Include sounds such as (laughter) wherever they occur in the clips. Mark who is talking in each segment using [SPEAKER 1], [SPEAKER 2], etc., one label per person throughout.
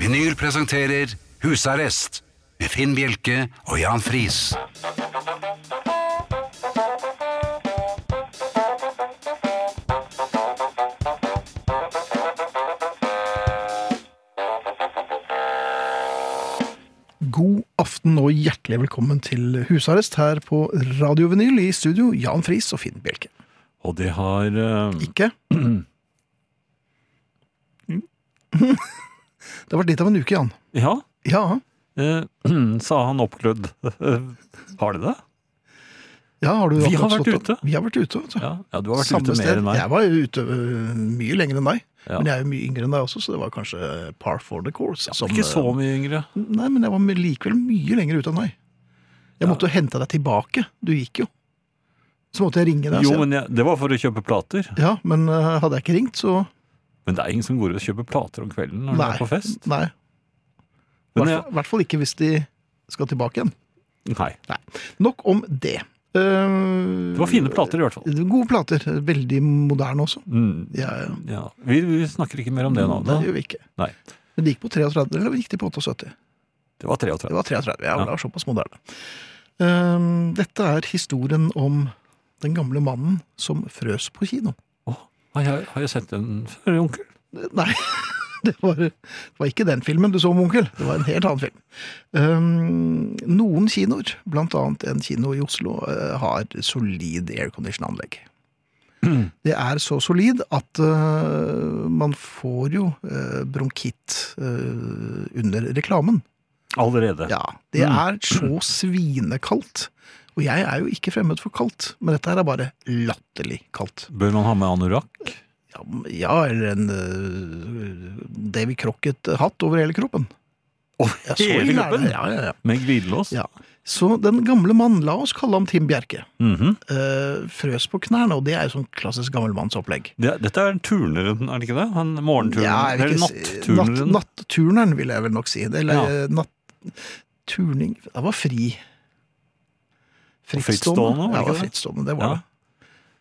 [SPEAKER 1] Vinyl presenterer Husarrest med Finn Bjelke og Jan Friis.
[SPEAKER 2] God aften og hjertelig velkommen til husarrest her på Radio Vinyl i studio, Jan Friis og Finn Bjelke.
[SPEAKER 3] Og det har eh,
[SPEAKER 2] Ikke? Mm. (laughs) Det har vært litt av en uke, Jan.
[SPEAKER 3] Ja,
[SPEAKER 2] Ja,
[SPEAKER 3] eh, (clears throat) sa han oppglødd. (laughs) har det det?
[SPEAKER 2] ja har du
[SPEAKER 3] Vi har
[SPEAKER 2] akkurat
[SPEAKER 3] vært
[SPEAKER 2] stått opp?
[SPEAKER 3] ute.
[SPEAKER 2] Vi har vært ute. vet du.
[SPEAKER 3] Ja, ja du har vært
[SPEAKER 2] Samme
[SPEAKER 3] ute mer
[SPEAKER 2] sted.
[SPEAKER 3] enn meg.
[SPEAKER 2] Jeg var jo ute øh, mye lenger enn deg.
[SPEAKER 3] Ja.
[SPEAKER 2] Men jeg er jo mye yngre enn deg også, så det var kanskje par for the course. som,
[SPEAKER 3] Ikke så
[SPEAKER 2] øh,
[SPEAKER 3] mye yngre.
[SPEAKER 2] Nei, men jeg var likevel mye lenger ute enn deg. Jeg
[SPEAKER 3] Ja.
[SPEAKER 2] måtte jo hente deg tilbake. Du gikk jo. Så måtte jeg ringe deg. og
[SPEAKER 3] Jo,
[SPEAKER 2] si-
[SPEAKER 3] men jeg, det var for å kjøpe plater.
[SPEAKER 2] Ja, men øh, hadde jeg ikke ringt, så
[SPEAKER 3] Men det er ingen som går og kjøper plater om kvelden når de
[SPEAKER 2] Nei.
[SPEAKER 3] er på fest.
[SPEAKER 2] Nei. I
[SPEAKER 3] Men
[SPEAKER 2] hvert, fall- hvert fall ikke hvis de skal tilbake igjen.
[SPEAKER 3] Nei.
[SPEAKER 2] Nok om det. Eh,
[SPEAKER 3] Det var fine plater i hvert fall.
[SPEAKER 2] Gode plater. Veldig moderne også.
[SPEAKER 3] Mm,
[SPEAKER 2] Ja, ja.
[SPEAKER 3] ja. vi, vi snakker ikke mer om det nå. Da.
[SPEAKER 2] Det gjør vi ikke.
[SPEAKER 3] Nei.
[SPEAKER 2] Men de gikk på 33, eller gikk de på 78?
[SPEAKER 3] Det var
[SPEAKER 2] Det
[SPEAKER 3] 33.
[SPEAKER 2] var 33. Ja,
[SPEAKER 3] Ja.
[SPEAKER 2] det var såpass moderne. Eh, dette er historien om den gamle mannen som frøs på kino.
[SPEAKER 3] Åh, har, jeg, har jeg sett den før, onkel?
[SPEAKER 2] Eh, Nei, (laughs) det var, det var ikke den filmen du så om onkel. Det var en helt annen film. Um, noen kinoer, blant annet en kino i Oslo, eh, har solid aircondition-anlegg. Det er så solid at eh, man får jo eh, bronkitt eh, under reklamen.
[SPEAKER 3] Allerede.
[SPEAKER 2] Ja, Det
[SPEAKER 3] Mm.
[SPEAKER 2] er så svinekaldt. Og jeg er jo ikke fremmed for kaldt, men dette her er bare latterlig kaldt.
[SPEAKER 3] Bør man ha med anorakk?
[SPEAKER 2] Ja, m- ja eller en øh, Davy Crocket-hatt over hele kroppen. Ja, så
[SPEAKER 3] hele
[SPEAKER 2] ille er
[SPEAKER 3] kroppen?
[SPEAKER 2] det. Ja, ja, ja.
[SPEAKER 3] Med glidelås?
[SPEAKER 2] Ja. Så den gamle mann, la oss kalle ham Tim Bjerke,
[SPEAKER 3] Mhm.
[SPEAKER 2] øh, frøs på knærne, og det er jo sånn klassisk gammelmannsopplegg.
[SPEAKER 3] det, dette er turneren, er det ikke det? Han morgenturneren?
[SPEAKER 2] Ja, jeg vil
[SPEAKER 3] eller
[SPEAKER 2] ikke si-
[SPEAKER 3] natturneren?
[SPEAKER 2] Natt, natturneren, vil jeg vel nok si. det, Eller
[SPEAKER 3] Ja.
[SPEAKER 2] øh, natturning Det var fri.
[SPEAKER 3] frittstående, var
[SPEAKER 2] ja,
[SPEAKER 3] det ikke
[SPEAKER 2] det var
[SPEAKER 3] det?
[SPEAKER 2] frittstående, det var
[SPEAKER 3] Ja.
[SPEAKER 2] det.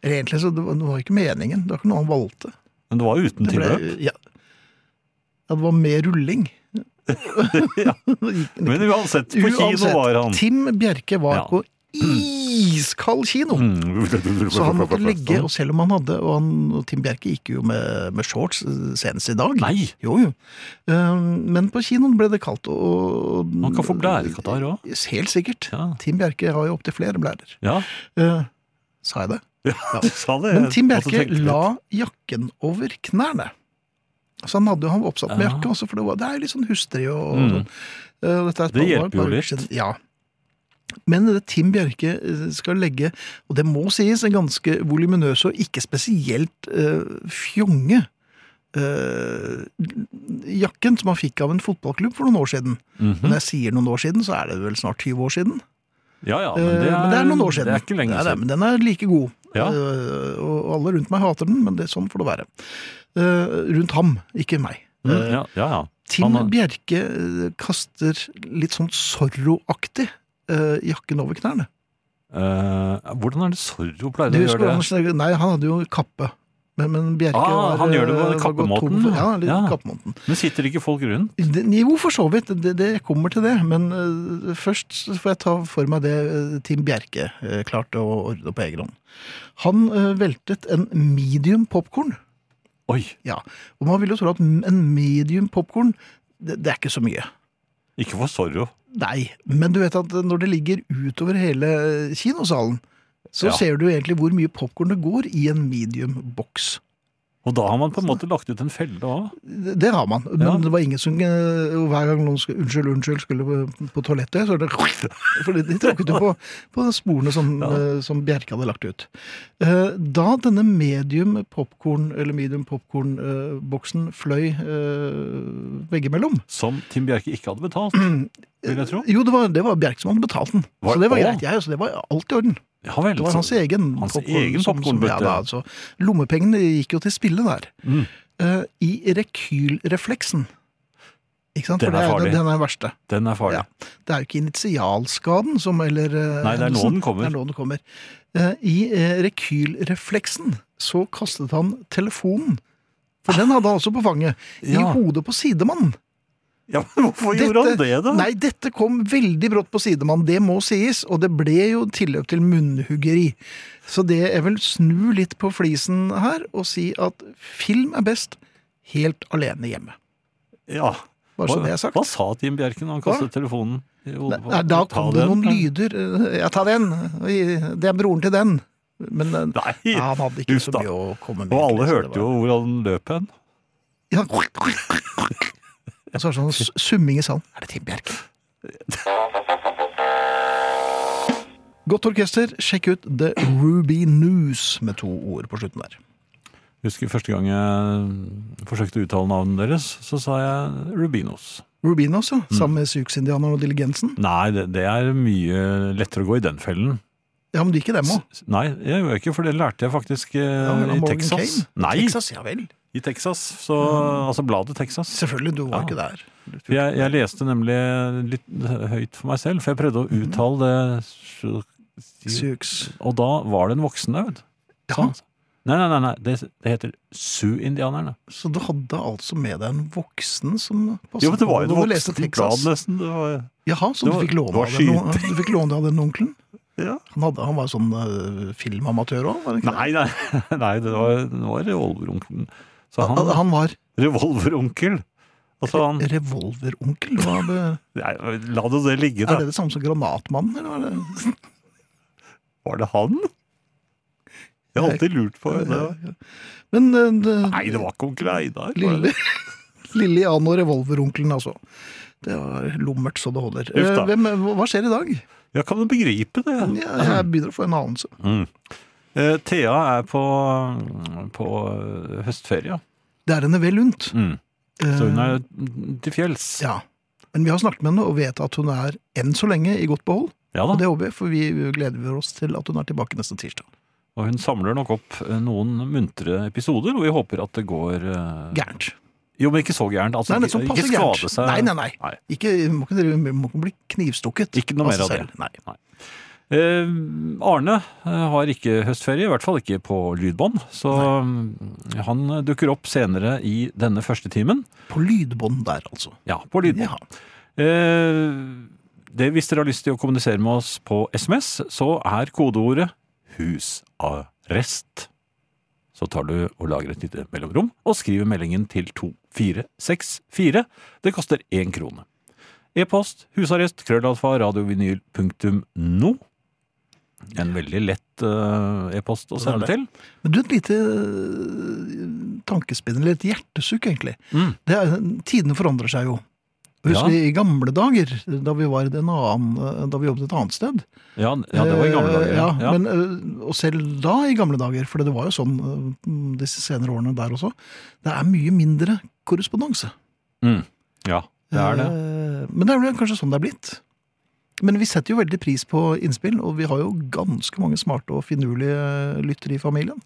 [SPEAKER 2] Eller egentlig så det var, det var ikke meningen. Det var ikke noe han valgte.
[SPEAKER 3] Men det var uten
[SPEAKER 2] Det ble-
[SPEAKER 3] tilløp.
[SPEAKER 2] Ja. ja, det var mer rulling.
[SPEAKER 3] (laughs)
[SPEAKER 2] (laughs)
[SPEAKER 3] Ja. Men
[SPEAKER 2] Men
[SPEAKER 3] uansett, på kino var
[SPEAKER 2] (laughs)
[SPEAKER 3] han.
[SPEAKER 2] Tim Bjerke var
[SPEAKER 3] Ja.
[SPEAKER 2] på iskald kino!
[SPEAKER 3] Mm.
[SPEAKER 2] Så han måtte ligge, og selv om han hadde Og, han, og Tim Bjerke gikk jo med, med shorts eh, senest i dag.
[SPEAKER 3] Nei!
[SPEAKER 2] Jo, jo. Ehm, Men på kinoen ble det kaldt. Og,
[SPEAKER 3] Man kan få blærekatarr òg.
[SPEAKER 2] Helt sikkert.
[SPEAKER 3] Ja.
[SPEAKER 2] Tim Bjerke har jo opptil flere blærer.
[SPEAKER 3] ja,
[SPEAKER 2] Eh, sa jeg det?
[SPEAKER 3] ja, du sa det.
[SPEAKER 2] Men Tim
[SPEAKER 3] Jeg måtte
[SPEAKER 2] Bjerke
[SPEAKER 3] tenke litt.
[SPEAKER 2] la jakken over knærne. Altså han hadde jo han var oppsatt med
[SPEAKER 3] Ja.
[SPEAKER 2] jakke også, for det, var, det er jo litt sånn hustrig. Og, og
[SPEAKER 3] Mm.
[SPEAKER 2] sånn. Eh, og dette er et
[SPEAKER 3] Det
[SPEAKER 2] par-
[SPEAKER 3] hjelper jo
[SPEAKER 2] par uker
[SPEAKER 3] litt.
[SPEAKER 2] siden. Ja. Men det Tim Bjerke eh, skal legge, og det må sies, en ganske voluminøs og ikke spesielt eh, fjonge eh, jakken som han fikk av en fotballklubb for noen år siden.
[SPEAKER 3] Mhm.
[SPEAKER 2] Når jeg sier noen år siden, så er det vel snart 20 år siden.
[SPEAKER 3] Ja ja, men
[SPEAKER 2] Eh,
[SPEAKER 3] det er,
[SPEAKER 2] men det er noen år siden.
[SPEAKER 3] Det er ikke lenge
[SPEAKER 2] Nei, nei,
[SPEAKER 3] siden.
[SPEAKER 2] men den er like god.
[SPEAKER 3] Ja.
[SPEAKER 2] Eh, og alle rundt meg hater den, men det, sånn får det være. Eh, rundt ham, ikke meg.
[SPEAKER 3] Mm,
[SPEAKER 2] Eh,
[SPEAKER 3] ja, ja, ja.
[SPEAKER 2] Tim
[SPEAKER 3] han er-
[SPEAKER 2] Bjerke eh, kaster litt sånn Zorro-aktig eh, jakken over knærne.
[SPEAKER 3] Eh, hvordan er det Zorro pleier
[SPEAKER 2] Du
[SPEAKER 3] å
[SPEAKER 2] husker
[SPEAKER 3] gjøre det?
[SPEAKER 2] Andersen, nei, han hadde jo kappe. Men, men Bjerke
[SPEAKER 3] Ah,
[SPEAKER 2] var,
[SPEAKER 3] han gjør det på
[SPEAKER 2] eh, var gått
[SPEAKER 3] kappemåten,
[SPEAKER 2] tom for- Ja,
[SPEAKER 3] ja.
[SPEAKER 2] litt
[SPEAKER 3] Ja.
[SPEAKER 2] kappemåten.
[SPEAKER 3] Men sitter ikke folk rundt?
[SPEAKER 2] Det- Jo, for så vidt. Det, det, jeg kommer til det. Men eh, først så får jeg ta for meg det eh, Tim Bjerke eh, klarte å ordne på egen hånd. Han eh, veltet en medium popkorn.
[SPEAKER 3] Oi,
[SPEAKER 2] Ja. Og man vil jo tro at en medium popkorn, det, det er ikke så mye.
[SPEAKER 3] ikke for Zorro.
[SPEAKER 2] Nei. Men du vet at når det ligger utover hele kinosalen, så
[SPEAKER 3] Ja.
[SPEAKER 2] ser du egentlig hvor mye popkorn det går i en medium boks.
[SPEAKER 3] Og da har man på en måte lagt ut en felle òg.
[SPEAKER 2] Det det har man, men
[SPEAKER 3] Ja.
[SPEAKER 2] det var ingen som eh, og Hver gang noen skulle, unnskyld, unnskyld, skulle på, på toalettet, så er det (laughs) For de, de tråkket jo på, på sporene som,
[SPEAKER 3] Ja.
[SPEAKER 2] eh, som Bjerke hadde lagt ut. Eh, Da denne medium popcorn, eller medium popkorn-boksen fløy eh, veggimellom Eh,
[SPEAKER 3] Som Tim Bjerke ikke hadde
[SPEAKER 2] (clears throat)
[SPEAKER 3] betalt, vil jeg tro.
[SPEAKER 2] Jo, det var, det var Bjerke som hadde betalt den,
[SPEAKER 3] Var-
[SPEAKER 2] så det var
[SPEAKER 3] Å.
[SPEAKER 2] greit. Jeg, så det var alt i orden.
[SPEAKER 3] Ja vel.
[SPEAKER 2] Det var
[SPEAKER 3] så-
[SPEAKER 2] hans egen
[SPEAKER 3] hans
[SPEAKER 2] popcorn
[SPEAKER 3] egen
[SPEAKER 2] som- som-
[SPEAKER 3] popcornbøtte.
[SPEAKER 2] Ja, da, altså, lommepengene gikk jo til spille der.
[SPEAKER 3] Mm.
[SPEAKER 2] Eh, I rekylrefleksen. Ikke sant?
[SPEAKER 3] Den
[SPEAKER 2] For
[SPEAKER 3] er
[SPEAKER 2] det
[SPEAKER 3] farlig.
[SPEAKER 2] Den er den verste.
[SPEAKER 3] Den er farlig.
[SPEAKER 2] Ja. Det er jo ikke initialskaden som eller eh,
[SPEAKER 3] Nei, det er nå
[SPEAKER 2] hendelsen.
[SPEAKER 3] den kommer.
[SPEAKER 2] Det er nå den kommer. Eh, I eh, rekylrefleksen så kastet han telefonen. For den hadde han også på fanget. I
[SPEAKER 3] Ja.
[SPEAKER 2] hodet på sidemannen.
[SPEAKER 3] Ja, men hvorfor gjorde han det, da?
[SPEAKER 2] Nei, dette kom veldig brått på sidemann, det må sies. Og det ble jo tilløp til munnhuggeri. Så det er vel snu litt på flisen her og si at film er best helt alene hjemme.
[SPEAKER 3] Ja.
[SPEAKER 2] Bare så det er sagt.
[SPEAKER 3] Hva sa Tim Bjerken da han kastet telefonen i hodet på
[SPEAKER 2] Nei, da
[SPEAKER 3] Ta
[SPEAKER 2] kom det
[SPEAKER 3] den.
[SPEAKER 2] noen lyder. Ja, ta den! Det er broren til den. Men eh,
[SPEAKER 3] Nei.
[SPEAKER 2] ja, han hadde ikke
[SPEAKER 3] Uff
[SPEAKER 2] så
[SPEAKER 3] da.
[SPEAKER 2] mye å komme med.
[SPEAKER 3] Og
[SPEAKER 2] egentlig,
[SPEAKER 3] alle
[SPEAKER 2] så det
[SPEAKER 3] hørte jo hvor han løp hen.
[SPEAKER 2] var- Ja. Og så er det sånn s- summing i salen. Er det Tim Bjerke? Godt orkester. Sjekk ut The Ruby News med to ord på slutten der.
[SPEAKER 3] Husker første gang jeg eh, forsøkte å uttale navnet deres, så sa jeg Rubinos.
[SPEAKER 2] Rubinos,
[SPEAKER 3] Mm.
[SPEAKER 2] ja. Sammen med Sykesindianerne og Diligensen.
[SPEAKER 3] Nei, det, det er mye lettere å gå i den fellen.
[SPEAKER 2] Ja, men du gikk i dem òg.
[SPEAKER 3] S- Nei, jeg gjør ikke, for det lærte jeg faktisk eh, i Texas. Nei,
[SPEAKER 2] Texas, Mm. ja vel.
[SPEAKER 3] i Texas. Så, Altså bladet Texas.
[SPEAKER 2] Selvfølgelig, du var
[SPEAKER 3] Ja.
[SPEAKER 2] ikke der.
[SPEAKER 3] For Jeg, jeg leste nemlig litt høyt for meg selv, for jeg prøvde å uttale det sju- sju-
[SPEAKER 2] Sukes.
[SPEAKER 3] Og da var det en voksen der, vet du.
[SPEAKER 2] Ja,
[SPEAKER 3] Sånn. Nei, nei, nei, nei. Det, det heter Sioux-indianerne.
[SPEAKER 2] så du hadde altså med deg en voksen som passet
[SPEAKER 3] Jo, men det var
[SPEAKER 2] på
[SPEAKER 3] jo
[SPEAKER 2] når du
[SPEAKER 3] et
[SPEAKER 2] leste
[SPEAKER 3] voksent
[SPEAKER 2] Texas.
[SPEAKER 3] blad, nesten. Det var,
[SPEAKER 2] Jaha, så du
[SPEAKER 3] Det var-
[SPEAKER 2] fikk låne
[SPEAKER 3] det var
[SPEAKER 2] av den,
[SPEAKER 3] skyting.
[SPEAKER 2] du fikk låne av den onkelen?
[SPEAKER 3] ja.
[SPEAKER 2] Han, hadde, han var jo sånn eh, filmamatør òg, var han ikke
[SPEAKER 3] Nei, (laughs) nei, nei, det var, det var revolveronkelen. Så
[SPEAKER 2] det? Han,
[SPEAKER 3] han
[SPEAKER 2] han var
[SPEAKER 3] Revolveronkel. Altså han
[SPEAKER 2] revolveronkel? Hva be,
[SPEAKER 3] (laughs) Nei, La nå det ligge,
[SPEAKER 2] er
[SPEAKER 3] da.
[SPEAKER 2] det det samme som granatmannen, eller hva er det?
[SPEAKER 3] Var det han? Jeg har alltid lurt på det.
[SPEAKER 2] Men eh, det,
[SPEAKER 3] Nei, det var ikke onkel Einar. var det?
[SPEAKER 2] lille, (laughs) lille Jan og revolveronkelen, altså. Det var lummert så det holder.
[SPEAKER 3] Uff da.
[SPEAKER 2] Eh, Hvem, hva skjer i dag?
[SPEAKER 3] Ja, kan du begripe det?
[SPEAKER 2] Jeg, jeg begynner å få en anelse.
[SPEAKER 3] Mm. Eh, Thea er på, på eh, høstferie,
[SPEAKER 2] Det er henne vel unt.
[SPEAKER 3] Mm. så hun
[SPEAKER 2] Eh,
[SPEAKER 3] er til fjells.
[SPEAKER 2] ja. Men vi har snakket med henne og vet at hun er enn så lenge i godt behold.
[SPEAKER 3] Ja
[SPEAKER 2] Og
[SPEAKER 3] da,
[SPEAKER 2] det håper jeg, for vi gleder oss til at hun er tilbake neste tirsdag.
[SPEAKER 3] og hun samler nok opp eh, noen muntre episoder, og vi håper at det går eh,
[SPEAKER 2] Gærent.
[SPEAKER 3] Jo, men ikke så gærent. Altså,
[SPEAKER 2] Nei, men sånn
[SPEAKER 3] ikke-
[SPEAKER 2] passe
[SPEAKER 3] ikke
[SPEAKER 2] gærent.
[SPEAKER 3] skade seg.
[SPEAKER 2] Nei, nei, nei.
[SPEAKER 3] Nei.
[SPEAKER 2] Ikke, må, ikke, drive- må ikke bli knivstukket.
[SPEAKER 3] Ikke
[SPEAKER 2] av
[SPEAKER 3] noe mer
[SPEAKER 2] seg
[SPEAKER 3] av det.
[SPEAKER 2] selv. Nei.
[SPEAKER 3] Eh, Arne eh, har ikke høstferie, i hvert fall ikke på lydbånd, så mm, han dukker opp senere i denne første timen.
[SPEAKER 2] På lydbånd der, altså.
[SPEAKER 3] Ja, på lydbånd.
[SPEAKER 2] Ja.
[SPEAKER 3] Eh, det, hvis dere har lyst til å kommunisere med oss på SMS, så er kodeordet 'husarrest'. Så tar du og lager et lite mellomrom og skriver meldingen til 2464. Det koster én krone. E-post husarrest krøllalfa radiovinyl.no. En veldig lett eh, e-post å sende
[SPEAKER 2] Det er
[SPEAKER 3] til.
[SPEAKER 2] Men du, et lite øh, tankespinn, eller et hjertesukk, egentlig.
[SPEAKER 3] Mm.
[SPEAKER 2] Det er, tidene forandrer seg jo. Husker
[SPEAKER 3] Ja.
[SPEAKER 2] vi i gamle dager, da vi, var i en annen, øh, da vi jobbet et annet sted?
[SPEAKER 3] Ja, n- ja, det var i gamle dager.
[SPEAKER 2] Eh,
[SPEAKER 3] Ja.
[SPEAKER 2] ja,
[SPEAKER 3] Ja.
[SPEAKER 2] Men, eh, og selv da i gamle dager, for det var jo sånn eh, disse senere årene der også, det er mye mindre korrespondanse.
[SPEAKER 3] Mm. ja, det er det.
[SPEAKER 2] Eh, Men det er vel kanskje sånn det er blitt. Men vi setter jo veldig pris på innspill, og vi har jo ganske mange smarte og finurlige lyttere i familien.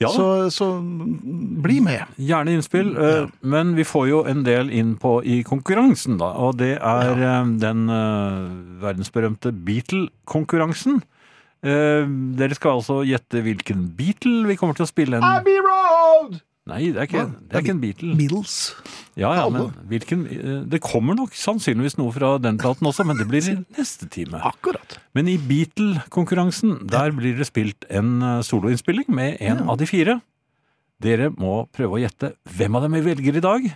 [SPEAKER 3] Ja,
[SPEAKER 2] Eh,
[SPEAKER 3] da.
[SPEAKER 2] så, så mm, bli med.
[SPEAKER 3] Gjerne innspill, eh, men vi får jo en del inn på i konkurransen, da. Og det er eh, den eh, verdensberømte Beatle-konkurransen. Eh, Dere skal altså gjette hvilken Beatle vi kommer til å spille en Abbey Road! Nei, det er ikke,
[SPEAKER 2] Hva?
[SPEAKER 3] det er ikke en Beatle.
[SPEAKER 2] Middles.
[SPEAKER 3] Ja, ja,
[SPEAKER 2] Alle.
[SPEAKER 3] men hvilken, eh, det kommer nok sannsynligvis noe fra den platen også, men det blir i neste time.
[SPEAKER 2] Akkurat.
[SPEAKER 3] Men i Beatle-konkurransen, der blir det spilt en eh, soloinnspilling med en
[SPEAKER 2] Ja.
[SPEAKER 3] av de fire. Dere må prøve å gjette hvem av dem vi velger i dag.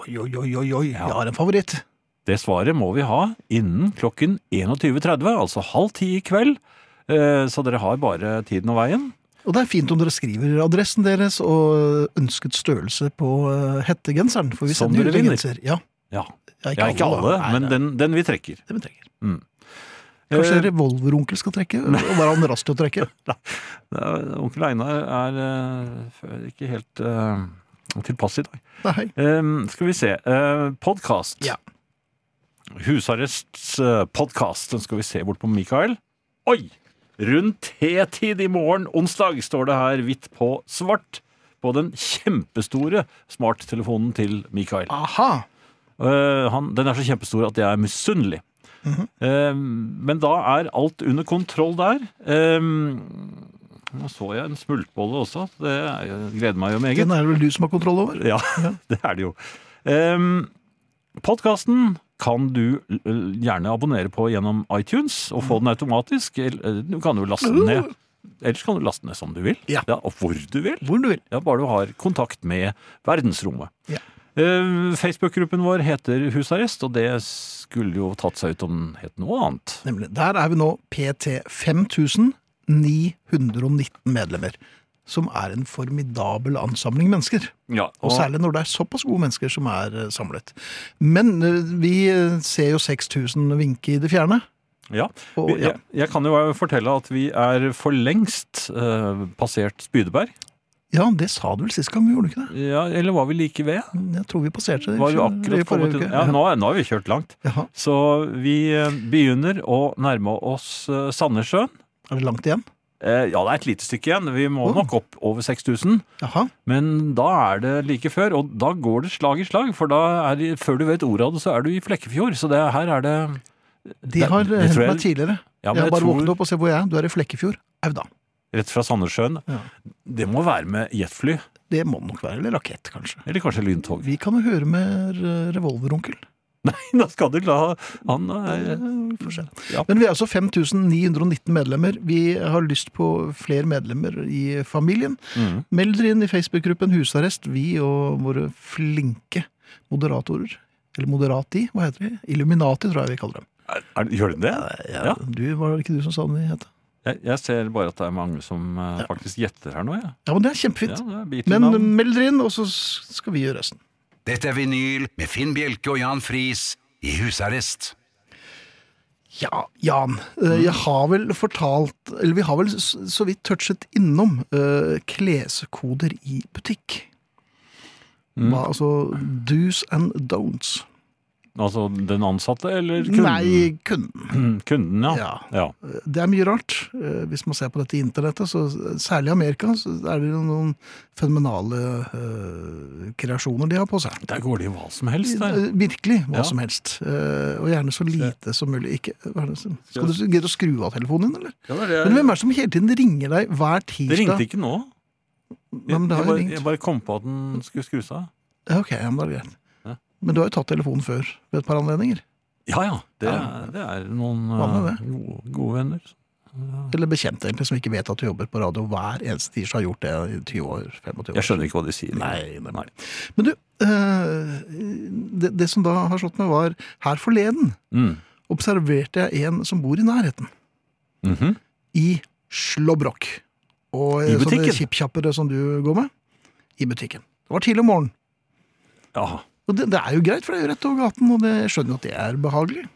[SPEAKER 2] Oi, oi, oi, oi, oi. Jeg har en favoritt.
[SPEAKER 3] Det svaret må vi ha innen klokken 21.30, altså halv ti i kveld. Eh, Så dere har bare tiden og veien.
[SPEAKER 2] Og det er fint om dere skriver adressen deres og ønsket størrelse på eh, hettegenseren, for vi
[SPEAKER 3] Som
[SPEAKER 2] sender
[SPEAKER 3] Sånn dere
[SPEAKER 2] ut en
[SPEAKER 3] vinner.
[SPEAKER 2] genser. Ja,
[SPEAKER 3] Ja,
[SPEAKER 2] ja,
[SPEAKER 3] ja ikke alle,
[SPEAKER 2] da. Nei,
[SPEAKER 3] men
[SPEAKER 2] nei,
[SPEAKER 3] den, den vi trekker.
[SPEAKER 2] det vi trenger. Kanskje
[SPEAKER 3] Eh,
[SPEAKER 2] revolveronkel skal trekke? Og være han rask til å
[SPEAKER 3] (laughs)
[SPEAKER 2] trekke?
[SPEAKER 3] eh, Onkel Einar er eh, f- ikke helt eh, tilpass i dag.
[SPEAKER 2] Nei.
[SPEAKER 3] Eh, Skal vi se. eh, Podkast.
[SPEAKER 2] Ja.
[SPEAKER 3] Husarrests eh, podcast. Den skal vi se bort på Mikael. Oi! Rundt T-tid i morgen, onsdag, står det her hvitt på svart på den kjempestore smarttelefonen til Mikael.
[SPEAKER 2] Aha!
[SPEAKER 3] Eh, han, den er så kjempestor at jeg er misunnelig. Eh, men da er alt under kontroll der. Eh, nå så jeg en smultbolle også. Det er, jeg gleder meg jo meget. (laughs)
[SPEAKER 2] Den er det vel du som har kontroll over?
[SPEAKER 3] Ja, det er det jo. Ehm, Podkasten kan du l- gjerne abonnere på gjennom iTunes og få den automatisk. El- eh, Du kan jo laste den ned. Ellers kan du laste den ned som du vil,
[SPEAKER 2] Ja.
[SPEAKER 3] og hvor du vil.
[SPEAKER 2] Hvor du vil.
[SPEAKER 3] Ja, bare du har kontakt med verdensrommet.
[SPEAKER 2] Ja.
[SPEAKER 3] Eh, Facebook-gruppen vår heter Husarrest, og det skulle jo tatt seg ut om den het noe annet.
[SPEAKER 2] Nemlig. Der er vi nå PT 5919 medlemmer. Som er en formidabel ansamling mennesker.
[SPEAKER 3] Ja,
[SPEAKER 2] Og særlig når det er såpass gode mennesker som er eh, samlet. Men eh, vi eh, ser jo 6000 vinke i det fjerne.
[SPEAKER 3] Ja.
[SPEAKER 2] Og,
[SPEAKER 3] Vi-
[SPEAKER 2] ja.
[SPEAKER 3] Jeg, jeg kan jo fortelle at vi er for lengst eh, passert Spydeberg.
[SPEAKER 2] ja, det sa du vel sist gang, gjorde du ikke det?
[SPEAKER 3] Ja, eller var vi like ved?
[SPEAKER 2] Jeg tror vi passerte det. i
[SPEAKER 3] Var jo
[SPEAKER 2] fjor- i
[SPEAKER 3] akkurat kommet
[SPEAKER 2] forrige
[SPEAKER 3] inn.
[SPEAKER 2] uke.
[SPEAKER 3] Ja, nå, er- nå har vi kjørt langt.
[SPEAKER 2] Jaha.
[SPEAKER 3] Så vi eh, begynner å nærme oss eh, Sandnessjøen.
[SPEAKER 2] Er det langt igjen?
[SPEAKER 3] Eh, Ja, det er et lite stykke igjen. Vi må
[SPEAKER 2] Oh.
[SPEAKER 3] nok opp over 6000.
[SPEAKER 2] Jaha.
[SPEAKER 3] Men da er det like før, og da går det slag i slag. For da er, det- før du vet ordet av det, så er du i Flekkefjord. Så det, her er det
[SPEAKER 2] De
[SPEAKER 3] Det-
[SPEAKER 2] har
[SPEAKER 3] det
[SPEAKER 2] eh, hentet
[SPEAKER 3] tror jeg-
[SPEAKER 2] meg tidligere.
[SPEAKER 3] ja,
[SPEAKER 2] jeg
[SPEAKER 3] men
[SPEAKER 2] har
[SPEAKER 3] jeg
[SPEAKER 2] bare
[SPEAKER 3] tror-
[SPEAKER 2] våknet opp og ser hvor jeg er. Du er i Flekkefjord. Au da.
[SPEAKER 3] Rett fra Sandnessjøen.
[SPEAKER 2] Ja.
[SPEAKER 3] Det må være med jetfly.
[SPEAKER 2] Det må det nok være. Eller rakett, kanskje.
[SPEAKER 3] Eller kanskje lyntog. (laughs)
[SPEAKER 2] Vi kan jo høre med eh, revolveronkel.
[SPEAKER 3] Da skal du la han
[SPEAKER 2] Eh,
[SPEAKER 3] eh,
[SPEAKER 2] vi får se.
[SPEAKER 3] Ja.
[SPEAKER 2] Men vi er altså 5919 medlemmer. Vi har lyst på flere medlemmer i familien.
[SPEAKER 3] Mhm.
[SPEAKER 2] Meld dere inn i Facebook-gruppen Husarrest. Vi og våre flinke moderatorer. Eller moderati, hva heter de? Illuminati, tror jeg vi kaller dem.
[SPEAKER 3] er, er, Gjør den det? Ja.
[SPEAKER 2] Du, var det ikke du som sa det de het?
[SPEAKER 3] Jeg, jeg ser bare at det er mange som eh, faktisk gjetter her nå, jeg.
[SPEAKER 2] Ja, men det er
[SPEAKER 3] Ja,
[SPEAKER 2] kjempefint.
[SPEAKER 3] det er
[SPEAKER 2] Men mm,
[SPEAKER 3] Beatle-navn.
[SPEAKER 2] meld dere inn, og så skal vi gjøre resten.
[SPEAKER 1] Dette er vinyl med Finn Bjelke og Jan Friis i husarrest.
[SPEAKER 2] Ja, Jan. eh,
[SPEAKER 3] Mm.
[SPEAKER 2] Jeg har vel fortalt Eller vi har vel s- så vidt touchet innom eh, kleskoder i butikk.
[SPEAKER 3] Mm.
[SPEAKER 2] Hva, altså do's and don'ts.
[SPEAKER 3] Altså den ansatte eller kunden?
[SPEAKER 2] Nei, kunden.
[SPEAKER 3] Kunden, (clears throat) ja.
[SPEAKER 2] Ja.
[SPEAKER 3] ja.
[SPEAKER 2] Eh, Det er mye rart. eh, Hvis man ser på dette i internettet, så særlig i Amerika, så er det jo noen fenomenale eh, kreasjoner de har på seg.
[SPEAKER 3] Der går det i hva som helst, der.
[SPEAKER 2] Eh, Virkelig hva
[SPEAKER 3] Ja.
[SPEAKER 2] som helst. Eh, Og gjerne så lite som mulig. Ikke, hva er det, som- skal du gidde å skru av telefonen din, eller? Men hvem er det som hele tiden ringer deg hver tirsdag?
[SPEAKER 3] det ringte ikke nå.
[SPEAKER 2] Ja, men det
[SPEAKER 3] jeg,
[SPEAKER 2] har jo
[SPEAKER 3] bare,
[SPEAKER 2] ringt.
[SPEAKER 3] jeg bare kom på at den skulle skrus av.
[SPEAKER 2] Ja, ok, ja, men da er det greit.
[SPEAKER 3] Ja.
[SPEAKER 2] Men du har jo tatt telefonen før ved et par anledninger.
[SPEAKER 3] Ja ja, det,
[SPEAKER 2] Ja.
[SPEAKER 3] er- det er noen eh,
[SPEAKER 2] Vanlig,
[SPEAKER 3] gode, gode venner.
[SPEAKER 2] Eller bekjente egentlig som ikke vet at du jobber på radio hver eneste tirsdag har gjort det i 20 år. 25 år.
[SPEAKER 3] Jeg skjønner ikke hva de sier.
[SPEAKER 2] Nei, nei,
[SPEAKER 3] Nei.
[SPEAKER 2] Men du, eh, det, det som da har slått meg var, her forleden
[SPEAKER 3] Mm.
[SPEAKER 2] observerte jeg en som bor i nærheten,
[SPEAKER 3] Mhm.
[SPEAKER 2] i Slåbrok. Og
[SPEAKER 3] I
[SPEAKER 2] eh, sånne
[SPEAKER 3] butikken?
[SPEAKER 2] kjippkjappere som du går med, i butikken. Det var tidlig om morgenen.
[SPEAKER 3] Ja.
[SPEAKER 2] Og det, det er jo greit, for det er jo rett over gaten, og det, jeg skjønner jo at det er behagelig.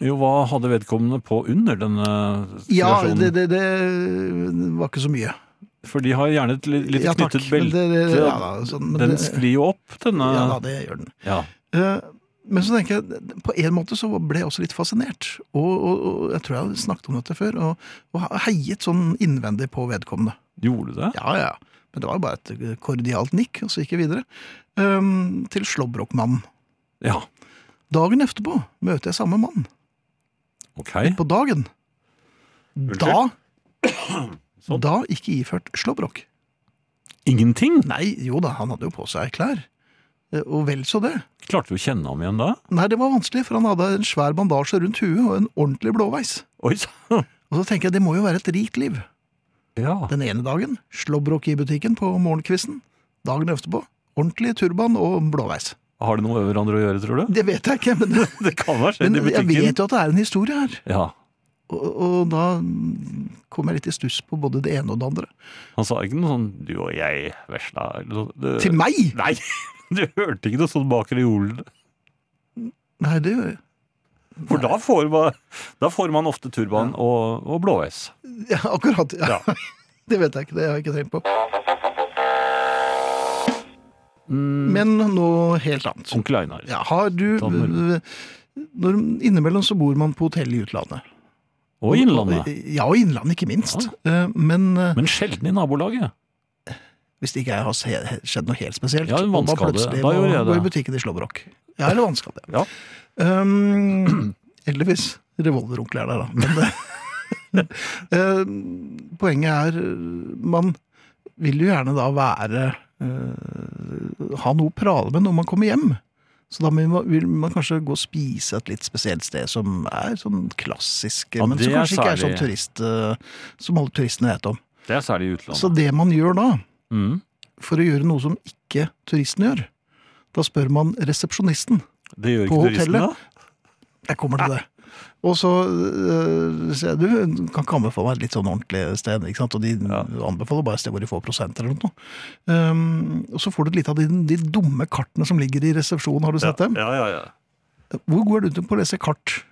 [SPEAKER 3] Jo, hva hadde vedkommende på under denne eh,
[SPEAKER 2] Ja,
[SPEAKER 3] situasjonen?
[SPEAKER 2] det, det, det var ikke så mye.
[SPEAKER 3] For de har gjerne et li- litt
[SPEAKER 2] Ja, takk,
[SPEAKER 3] knyttet
[SPEAKER 2] men
[SPEAKER 3] belte.
[SPEAKER 2] det-
[SPEAKER 3] til
[SPEAKER 2] ja,
[SPEAKER 3] at
[SPEAKER 2] da, sånn, men
[SPEAKER 3] Den
[SPEAKER 2] det-
[SPEAKER 3] sklir jo opp, denne.
[SPEAKER 2] Ja da, det gjør den.
[SPEAKER 3] Ja.
[SPEAKER 2] Eh, Men så tenker jeg, på en måte så ble jeg også litt fascinert. Og, og, og jeg tror jeg har snakket om dette før, og, og heiet sånn innvendig på vedkommende.
[SPEAKER 3] Gjorde du det?
[SPEAKER 2] Ja, ja. Men det var jo bare et kordialt nikk, og så gikk jeg videre. eh, Til Slåbrokmannen.
[SPEAKER 3] Ja.
[SPEAKER 2] Dagen etterpå møter jeg samme mann.
[SPEAKER 3] Ok.
[SPEAKER 2] På dagen. Da,
[SPEAKER 3] (coughs) Sånn.
[SPEAKER 2] da ikke iført slåbrok.
[SPEAKER 3] Ingenting?
[SPEAKER 2] Nei, jo da, han hadde jo på seg klær. Eh, Og vel så det.
[SPEAKER 3] Klarte du å kjenne ham igjen da?
[SPEAKER 2] Nei, det var vanskelig, for han hadde en svær bandasje rundt huet og en ordentlig blåveis.
[SPEAKER 3] Oi sann!
[SPEAKER 2] Og så tenker jeg, det må jo være et rikt liv.
[SPEAKER 3] (laughs) Ja.
[SPEAKER 2] Den ene dagen, slåbrok i butikken på morgenkvisten. Dagen etterpå, ordentlig turban og blåveis.
[SPEAKER 3] Har det noe med hverandre å gjøre, tror du?
[SPEAKER 2] Det vet jeg ikke,
[SPEAKER 3] (laughs)
[SPEAKER 2] men,
[SPEAKER 3] Det kan ha skjedd
[SPEAKER 2] men
[SPEAKER 3] i
[SPEAKER 2] jeg
[SPEAKER 3] butikken.
[SPEAKER 2] vet jo at det er en historie her.
[SPEAKER 3] Ja.
[SPEAKER 2] Og, og da mm, kom jeg litt i stuss på både det ene og det andre.
[SPEAKER 3] Han sa ikke noe sånn 'du og jeg vesla' eller noe det-
[SPEAKER 2] Til meg!
[SPEAKER 3] Nei! (laughs) Du hørte ikke noe sånt bak reolen.
[SPEAKER 2] Nei, det gjør jeg.
[SPEAKER 3] For da får man, da får man ofte turban og, og blåveis.
[SPEAKER 2] Ja, akkurat. Ja.
[SPEAKER 3] (laughs) Ja.
[SPEAKER 2] (laughs) Det vet jeg ikke, det har jeg ikke tenkt på. Men noe helt annet.
[SPEAKER 3] Onkel Einar.
[SPEAKER 2] Ja, har du
[SPEAKER 3] Danmark.
[SPEAKER 2] når, Innimellom så bor man på hotell i utlandet.
[SPEAKER 3] Og Innlandet.
[SPEAKER 2] Ja, og innlandet, ikke minst. Eh, Men eh,
[SPEAKER 3] Men sjelden i nabolaget.
[SPEAKER 2] hvis det ikke er- har se- skjedd noe helt spesielt,
[SPEAKER 3] Ja, en
[SPEAKER 2] og man
[SPEAKER 3] vannskade.
[SPEAKER 2] plutselig
[SPEAKER 3] Da
[SPEAKER 2] må
[SPEAKER 3] gjorde jeg
[SPEAKER 2] gå
[SPEAKER 3] det.
[SPEAKER 2] i butikken i Slåbrok. Ja, eller vannskade.
[SPEAKER 3] Ja.
[SPEAKER 2] Um, eller hvis revolveronkel er der, da. Men det, (laughs) Eh, poenget er eh, man vil jo gjerne da være eh, Ha noe å prale med når man kommer hjem. Så da vil man, vil man kanskje gå og spise et litt spesielt sted som er sånn klassisk,
[SPEAKER 3] Ja,
[SPEAKER 2] men
[SPEAKER 3] det
[SPEAKER 2] som
[SPEAKER 3] er
[SPEAKER 2] kanskje ikke er
[SPEAKER 3] særlig-
[SPEAKER 2] sånn turist, eh, som alle turistene vet om.
[SPEAKER 3] Det er særlig i utlandet.
[SPEAKER 2] Så det man gjør da,
[SPEAKER 3] mm.
[SPEAKER 2] for å gjøre noe som ikke turisten gjør, da spør man resepsjonisten.
[SPEAKER 3] Det gjør
[SPEAKER 2] på
[SPEAKER 3] ikke turistene,
[SPEAKER 2] hotellet.
[SPEAKER 3] da?
[SPEAKER 2] Jeg kommer til det. Og så øh, sier jeg, du kan ikke anbefale meg et litt sånn ordentlig sted, ikke sant? og de
[SPEAKER 3] Ja.
[SPEAKER 2] anbefaler bare et sted hvor de får prosenter eller noe. Um, og så får du et lite av de, de dumme kartene som ligger i resepsjonen, har du sett dem?
[SPEAKER 3] Ja, ja, ja.
[SPEAKER 2] Hvor god er du til på å lese kart?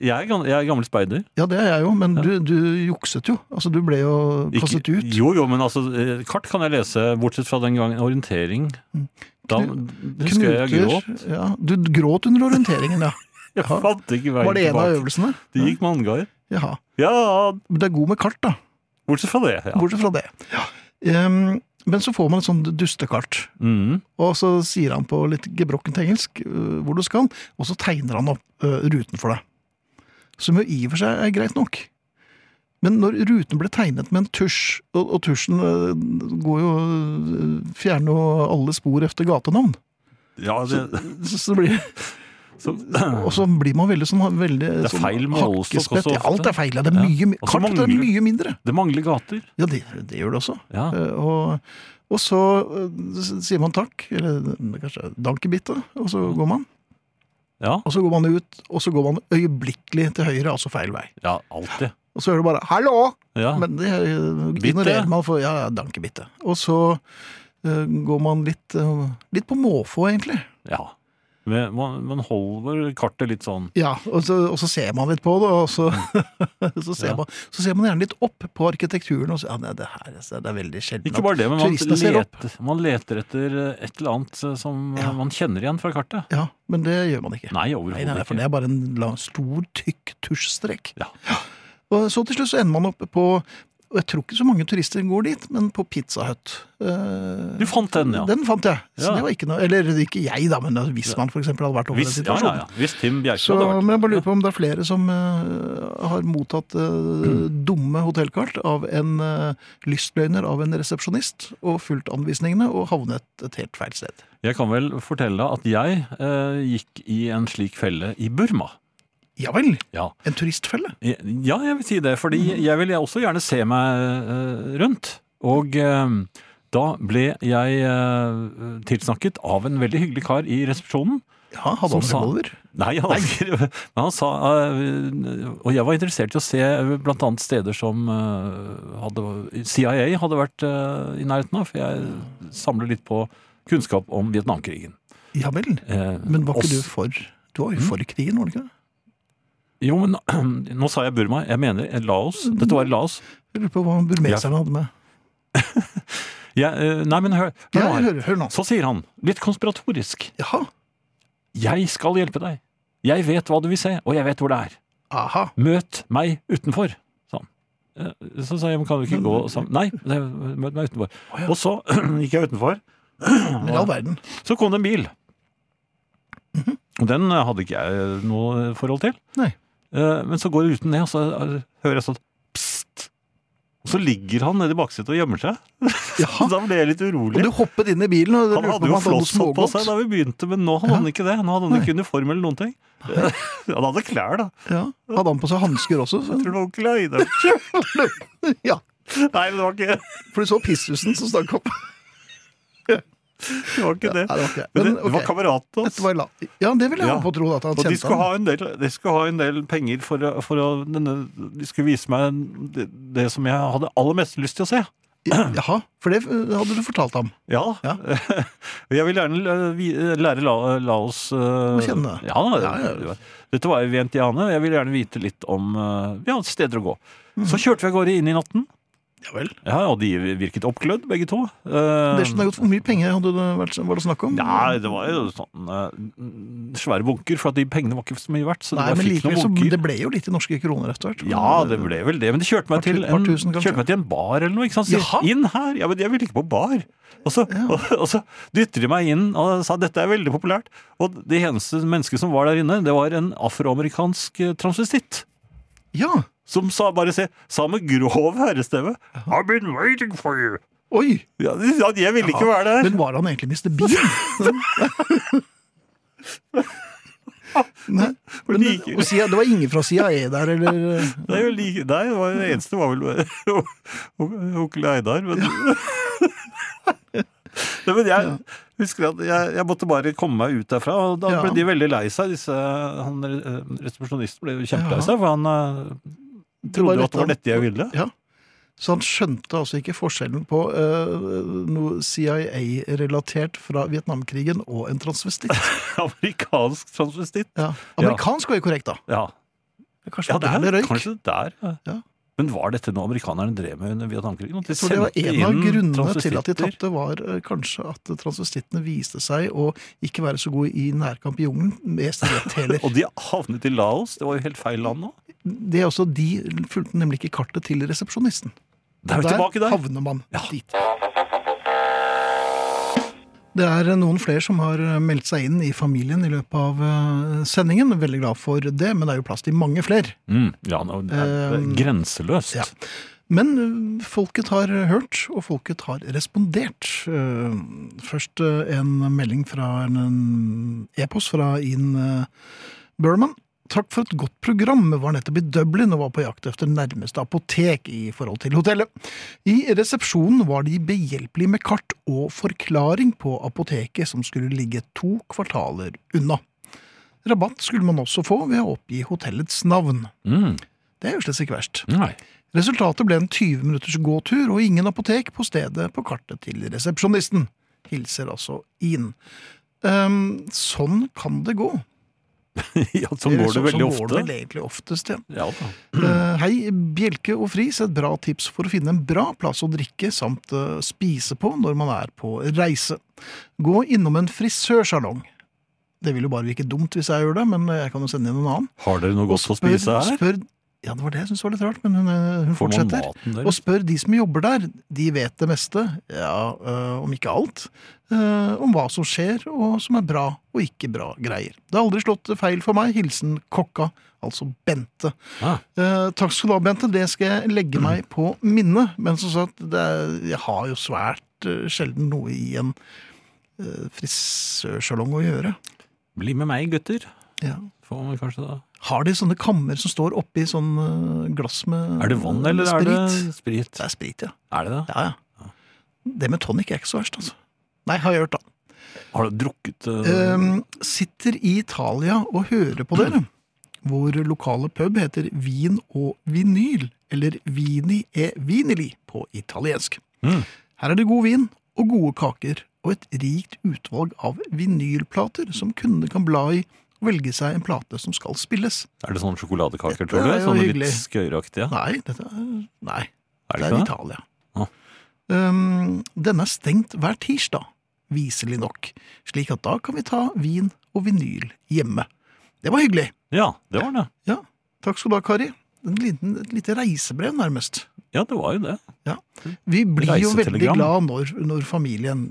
[SPEAKER 3] Jeg er, gam- jeg er gammel speider.
[SPEAKER 2] Ja, det er jeg jo, men du, du jukset jo. Altså, du ble jo
[SPEAKER 3] Ikke-
[SPEAKER 2] kastet ut.
[SPEAKER 3] Jo, jo, men altså, eh, kart kan jeg lese, bortsett fra den gangen orientering.
[SPEAKER 2] Mm.
[SPEAKER 3] Da husker jeg jeg gråt.
[SPEAKER 2] Ja, du gråt under orienteringen,
[SPEAKER 3] (laughs)
[SPEAKER 2] ja.
[SPEAKER 3] Jeg fant ikke veien
[SPEAKER 2] Var det en av
[SPEAKER 3] tilbake.
[SPEAKER 2] øvelsene?
[SPEAKER 3] Det gikk med angar.
[SPEAKER 2] Jaha.
[SPEAKER 3] Ja,
[SPEAKER 2] Men det er god med kart, da.
[SPEAKER 3] bortsett fra det. Ja.
[SPEAKER 2] Bortsett fra det. Ehm, men så får man et sånt dustekart,
[SPEAKER 3] Mm.
[SPEAKER 2] og så sier han på litt gebrokkent engelsk øh, hvor du skal, og så tegner han opp øh, ruten for deg. Som jo i og for seg er greit nok. Men når ruten ble tegnet med en tusj, og, og tusjen øh, går jo øh, Fjerner jo alle spor etter gatenavn,
[SPEAKER 3] ja det,
[SPEAKER 2] så, så
[SPEAKER 3] (clears throat)
[SPEAKER 2] blir
[SPEAKER 3] så, (clears throat)
[SPEAKER 2] Og så blir man veldig sånn veldig,
[SPEAKER 3] Det er feil med Olsok også
[SPEAKER 2] hakkespett. Ja, alt
[SPEAKER 3] ofte.
[SPEAKER 2] er feil. Ja, det er
[SPEAKER 3] Ja.
[SPEAKER 2] mye, mi-
[SPEAKER 3] Og så
[SPEAKER 2] kartet er
[SPEAKER 3] mangler-
[SPEAKER 2] mye mindre.
[SPEAKER 3] det mangler gater.
[SPEAKER 2] Ja, det, det gjør det også.
[SPEAKER 3] Ja.
[SPEAKER 2] Eh, Og, og så eh, s- sier man takk, eller eh, kanskje dankebitte, og
[SPEAKER 3] Mm.
[SPEAKER 2] så går man.
[SPEAKER 3] Ja,
[SPEAKER 2] Og så går man ut, og så går man øyeblikkelig til høyre, altså feil vei.
[SPEAKER 3] ja alltid.
[SPEAKER 2] Og så hører du bare 'hallo',
[SPEAKER 3] Ja.
[SPEAKER 2] men det eh,
[SPEAKER 3] Bitte?
[SPEAKER 2] ignorerer man for ja, ja, dankebitte. Og så eh, går man litt, eh, litt på måfå, egentlig.
[SPEAKER 3] ja. Men man, man holder kartet litt sånn
[SPEAKER 2] Ja, og så, og så ser man litt på det, og så, (laughs) så, ser,
[SPEAKER 3] Mm. Ja.
[SPEAKER 2] man, så ser man gjerne litt opp på arkitekturen. Og så, ja, nei, det her det er veldig sjelden
[SPEAKER 3] Ikke bare det, men man
[SPEAKER 2] turistene ser opp.
[SPEAKER 3] leter, man leter etter eh, et eller annet eh, som eh,
[SPEAKER 2] Ja.
[SPEAKER 3] man kjenner igjen fra kartet.
[SPEAKER 2] Ja, men det gjør man ikke.
[SPEAKER 3] Nei,
[SPEAKER 2] Nei, nei,
[SPEAKER 3] overhodet
[SPEAKER 2] for
[SPEAKER 3] ikke.
[SPEAKER 2] det er bare en lang, stor, tykk tusjstrek.
[SPEAKER 3] Ja.
[SPEAKER 2] Og så til slutt så ender man opp på og Jeg tror ikke så mange turister går dit, men på Pizza Hut. Eh,
[SPEAKER 3] Du fant den, ja.
[SPEAKER 2] Den fant jeg. Så
[SPEAKER 3] Ja.
[SPEAKER 2] det var ikke noe Eller ikke jeg, da, men hvis man for eksempel hadde vært over
[SPEAKER 3] Hvis,
[SPEAKER 2] den
[SPEAKER 3] ja, ja,
[SPEAKER 2] situasjonen.
[SPEAKER 3] ja. Hvis Tim
[SPEAKER 2] Så,
[SPEAKER 3] Bjerke hadde vært
[SPEAKER 2] men jeg bare lurer på om det er flere som eh, har mottatt
[SPEAKER 3] (clears throat)
[SPEAKER 2] eh, dumme hotellkart av en eh, lystløgner av en resepsjonist, og fulgt anvisningene og havnet et helt feil sted.
[SPEAKER 3] Jeg kan vel fortelle at jeg eh, gikk i en slik felle i Burma.
[SPEAKER 2] Ja vel!
[SPEAKER 3] Ja.
[SPEAKER 2] En turistfelle?
[SPEAKER 3] Ja, jeg vil si det, fordi jeg vil også gjerne se meg eh, rundt. Og eh, da ble jeg eh, tilsnakket av en veldig hyggelig kar i resepsjonen.
[SPEAKER 2] Ja,
[SPEAKER 3] Som
[SPEAKER 2] hadde han
[SPEAKER 3] sa-
[SPEAKER 2] revolver?
[SPEAKER 3] Nei, han, (laughs) men han sa eh, Og jeg var interessert i å se bl.a. steder som eh, hadde, CIA hadde vært eh, i nærheten av, for jeg samler litt på kunnskap om Vietnamkrigen.
[SPEAKER 2] Ja vel.
[SPEAKER 3] Eh, Mm.
[SPEAKER 2] Men var ikke
[SPEAKER 3] også-
[SPEAKER 2] du for Du var jo for krigen, var du ikke det?
[SPEAKER 3] Jo, men (clears throat) nå sa jeg Burma. Jeg mener Laos. Dette var i Laos.
[SPEAKER 2] Jeg lurer på hva burmeserne hadde med.
[SPEAKER 3] Jeg, eh, nei, men hør, hør
[SPEAKER 2] Ja,
[SPEAKER 3] nå her.
[SPEAKER 2] hør, hør nå.
[SPEAKER 3] Så sier han, litt konspiratorisk,
[SPEAKER 2] Jaha.
[SPEAKER 3] jeg skal hjelpe deg. Jeg vet hva du vil se, og jeg vet hvor det er.
[SPEAKER 2] Aha.
[SPEAKER 3] Møt meg utenfor, sa han. Eh, Så sa jeg, men kan du ikke gå sammen? Nei, det- møt meg utenfor.
[SPEAKER 2] Å, ja.
[SPEAKER 3] Og så (clears throat) gikk jeg utenfor.
[SPEAKER 2] Men i all verden.
[SPEAKER 3] Så kom det en bil.
[SPEAKER 2] Mhm.
[SPEAKER 3] Og den eh, hadde ikke jeg noe forhold til.
[SPEAKER 2] Nei.
[SPEAKER 3] Eh, Men så går ruten ned, og så hører jeg sånn, psst. Og så ligger han nede i baksetet og gjemmer seg.
[SPEAKER 2] Jaha.
[SPEAKER 3] Da ble jeg litt
[SPEAKER 2] Og
[SPEAKER 3] urolig.
[SPEAKER 2] du hoppet inn i bilen og
[SPEAKER 3] Han
[SPEAKER 2] lurte
[SPEAKER 3] hadde
[SPEAKER 2] på om
[SPEAKER 3] jo
[SPEAKER 2] han hadde noe
[SPEAKER 3] flosshatt på
[SPEAKER 2] smågodt?
[SPEAKER 3] seg da vi begynte, men nå hadde han ikke det. Nå hadde han
[SPEAKER 2] Nei.
[SPEAKER 3] ikke uniform eller noen ting. (laughs) Han hadde klær, da.
[SPEAKER 2] Ja. Hadde han på seg hansker også?
[SPEAKER 3] Jeg tror det var onkel Einar.
[SPEAKER 2] ja.
[SPEAKER 3] Nei, det var ikke
[SPEAKER 2] For du så pisshusen som stakk opp.
[SPEAKER 3] det. Var ikke det.
[SPEAKER 2] Nei, det var ikke det.
[SPEAKER 3] Men det,
[SPEAKER 2] Men,
[SPEAKER 3] det var
[SPEAKER 2] ok.
[SPEAKER 3] kameraten hans.
[SPEAKER 2] Dette var la... Ja, det vil jeg
[SPEAKER 3] Ja.
[SPEAKER 2] ha på tro at han
[SPEAKER 3] Og de
[SPEAKER 2] kjente
[SPEAKER 3] skulle
[SPEAKER 2] han.
[SPEAKER 3] ha en del, de skulle ha en del penger for, å- for å denne, De skulle vise meg det, det som jeg hadde aller mest lyst til å se.
[SPEAKER 2] Jaha, for det eh, hadde du fortalt ham.
[SPEAKER 3] Ja.
[SPEAKER 2] Ja.
[SPEAKER 3] (laughs) Jeg vil gjerne eh, vi- lære la, la oss Å
[SPEAKER 2] kjenne.
[SPEAKER 3] Ja,
[SPEAKER 2] Ja, ja.
[SPEAKER 3] det var- Dette var i Vientiane. og Jeg vil gjerne vite litt om eh, ja, steder å gå.
[SPEAKER 2] Mhm.
[SPEAKER 3] Så kjørte vi av gårde inn i natten.
[SPEAKER 2] Ja vel.
[SPEAKER 3] Ja, Og de virket oppglødd, begge to. Eh,
[SPEAKER 2] Det skjønner jeg godt. Hvor mye penger hadde det vært, var det snakk om?
[SPEAKER 3] Nei, det var jo sånn eh, svære bunker, for at de pengene var ikke så mye verdt. Så de
[SPEAKER 2] Nei,
[SPEAKER 3] bare
[SPEAKER 2] men
[SPEAKER 3] fikk
[SPEAKER 2] likevel
[SPEAKER 3] noen
[SPEAKER 2] så
[SPEAKER 3] bunker.
[SPEAKER 2] Det ble jo litt i norske kroner etter hvert.
[SPEAKER 3] Ja, det ble vel det. Men de kjørte
[SPEAKER 2] Par
[SPEAKER 3] meg,
[SPEAKER 2] tu-
[SPEAKER 3] til,
[SPEAKER 2] par
[SPEAKER 3] en,
[SPEAKER 2] tusen, kanskje?
[SPEAKER 3] kjørte meg til en bar eller noe. ikke sant? Sier,
[SPEAKER 2] Jaha.
[SPEAKER 3] inn her! Ja, men jeg ville ikke på bar. Og så, og, og så dytter de meg inn og sa dette er veldig populært. Og det eneste mennesket som var der inne, det var en afroamerikansk eh, transvestitt.
[SPEAKER 2] Ja.
[SPEAKER 3] Som sa bare se, sa med grov herrestemme I've been waiting for you.
[SPEAKER 2] Oi!
[SPEAKER 3] Ja, de sa, jeg ville ikke være der.
[SPEAKER 2] Men var han egentlig Mr. Bean? Nei,
[SPEAKER 3] Men
[SPEAKER 2] men det,
[SPEAKER 3] liker-
[SPEAKER 2] og CIA, det var ingen fra CIA der, eller eh,
[SPEAKER 3] Det er jo like, nei, det, var, det eneste var vel (laughs) onkel Eidar. Men, nei, men jeg husker at jeg, jeg måtte bare komme meg ut derfra, og da
[SPEAKER 2] Ja.
[SPEAKER 3] ble de veldig lei seg. Disse, han eh, resepsjonisten ble jo kjempelei seg, for han eh, trodde
[SPEAKER 2] var
[SPEAKER 3] jo at det var
[SPEAKER 2] dette
[SPEAKER 3] dette jeg ville.
[SPEAKER 2] Ja. Så han skjønte altså ikke forskjellen på eh, noe CIA-relatert fra Vietnamkrigen og en
[SPEAKER 3] (laughs)
[SPEAKER 2] transvestitt.
[SPEAKER 3] (laughs) Amerikansk transvestitt.
[SPEAKER 2] Ja. Amerikansk var jo korrekt, da.
[SPEAKER 3] Ja,
[SPEAKER 2] Kanskje
[SPEAKER 3] ja
[SPEAKER 2] det var der det røyk.
[SPEAKER 3] kanskje der. ja.
[SPEAKER 2] Ja.
[SPEAKER 3] Men var dette noe amerikanerne drev med under Vietnamkrigen? At de
[SPEAKER 2] Jeg tror det var
[SPEAKER 3] sendte
[SPEAKER 2] en av
[SPEAKER 3] inn
[SPEAKER 2] grunnene til at de
[SPEAKER 3] transvestitter?
[SPEAKER 2] tapte, var eh, kanskje at transvestittene viste seg å ikke være så gode i nærkamp i jungelen med stillhet heller.
[SPEAKER 3] Og de havnet i Laos. Det var jo helt feil land nå.
[SPEAKER 2] Det er også de fulgte nemlig ikke kartet til resepsjonisten.
[SPEAKER 3] Der, tilbake der.
[SPEAKER 2] havner man
[SPEAKER 3] Ja.
[SPEAKER 2] dit. Det er noen flere som har meldt seg inn i familien i løpet av eh, sendingen. Veldig glad for det, men det er jo plass til mange flere.
[SPEAKER 3] Mm, ja, nå, det er det er
[SPEAKER 2] Um,
[SPEAKER 3] grenseløst.
[SPEAKER 2] ja. Men ø, folket har hørt, og folket har respondert. Ø, Først ø, en melding fra en- en e-post fra Ian ø, Burman. Takk for et godt program. Var nettopp i Dublin og var på jakt efter nærmeste apotek i forhold til hotellet. I resepsjonen var de behjelpelige med kart og forklaring på apoteket som skulle ligge to kvartaler unna. Rabatt skulle man også få ved å oppgi hotellets navn.
[SPEAKER 3] Mm,
[SPEAKER 2] Det er jo slett ikke verst.
[SPEAKER 3] nei.
[SPEAKER 2] Resultatet ble en 20 minutters gåtur og ingen apotek på stedet på kartet til resepsjonisten. Hilser altså Ian. Ehm, sånn kan det gå.
[SPEAKER 3] (laughs) ja, sånn går (laughs) det
[SPEAKER 2] sånn
[SPEAKER 3] veldig
[SPEAKER 2] Går det
[SPEAKER 3] ofte.
[SPEAKER 2] vel egentlig oftest, ja.
[SPEAKER 3] Ja, da.
[SPEAKER 2] Eh, hei, Bjelke og Friis, et bra tips for å finne en bra plass å drikke samt eh, spise på når man er på reise. Gå innom en frisørsalong. Det vil jo bare virke dumt hvis jeg gjør det, men jeg kan jo sende inn en annen.
[SPEAKER 3] Har dere noe godt å spise her?
[SPEAKER 2] spør Ja, det var det jeg syntes var litt rart, men hun, eh, hun
[SPEAKER 3] Får man
[SPEAKER 2] fortsetter.
[SPEAKER 3] maten der?
[SPEAKER 2] Og spør de som jobber der, de vet det meste, ja, øh, om ikke alt, øh, om hva som skjer, og som er bra og ikke bra greier. Det har aldri slått feil for meg. Hilsen kokka, altså Bente.
[SPEAKER 3] Ah.
[SPEAKER 2] Eh, takk skal du ha, Bente. Det skal jeg legge meg på minnet. Men som sagt, det er, jeg har jo svært øh, sjelden noe i en øh, frisørsalong å gjøre.
[SPEAKER 3] Bli med meg, gutter.
[SPEAKER 2] Ja.
[SPEAKER 3] Får man kanskje da.
[SPEAKER 2] Har de sånne kammer som står oppi sånn øh, glass med
[SPEAKER 3] Er det vann, eller er
[SPEAKER 2] sprit?
[SPEAKER 3] det sprit?
[SPEAKER 2] Det er sprit, ja.
[SPEAKER 3] Er det det?
[SPEAKER 2] Ja, ja. Det med tonic er ikke så verst, altså. Nei, har jeg hørt, da.
[SPEAKER 3] Har du drukket eh,
[SPEAKER 2] Ehm, sitter i Italia og hører på dere. Vår lokale pub heter Vin og Vinyl, eller Vini e Vinili på italiensk.
[SPEAKER 3] Mm.
[SPEAKER 2] Her er det god vin og gode kaker, og et rikt utvalg av vinylplater som kundene kan bla i og velge seg en plate som skal spilles.
[SPEAKER 3] Er det sånne sjokoladekaker,
[SPEAKER 2] Dette
[SPEAKER 3] tror du?
[SPEAKER 2] er jo
[SPEAKER 3] Sånne
[SPEAKER 2] hyggelig.
[SPEAKER 3] litt skøyeraktige?
[SPEAKER 2] Nei, dette er Nei.
[SPEAKER 3] Er
[SPEAKER 2] Det
[SPEAKER 3] det
[SPEAKER 2] er
[SPEAKER 3] ikke det?
[SPEAKER 2] Italia.
[SPEAKER 3] Ah.
[SPEAKER 2] Um, den er stengt hver tirsdag, viselig nok, slik at da kan vi ta vin og vinyl hjemme. Det var hyggelig.
[SPEAKER 3] Ja, det var det.
[SPEAKER 2] Ja, takk skal du ha, Kari. En liten, et lite reisebrev, nærmest.
[SPEAKER 3] Ja, det var jo det.
[SPEAKER 2] Vi blir jo veldig
[SPEAKER 3] Reisetelegram.
[SPEAKER 2] glad når, når familien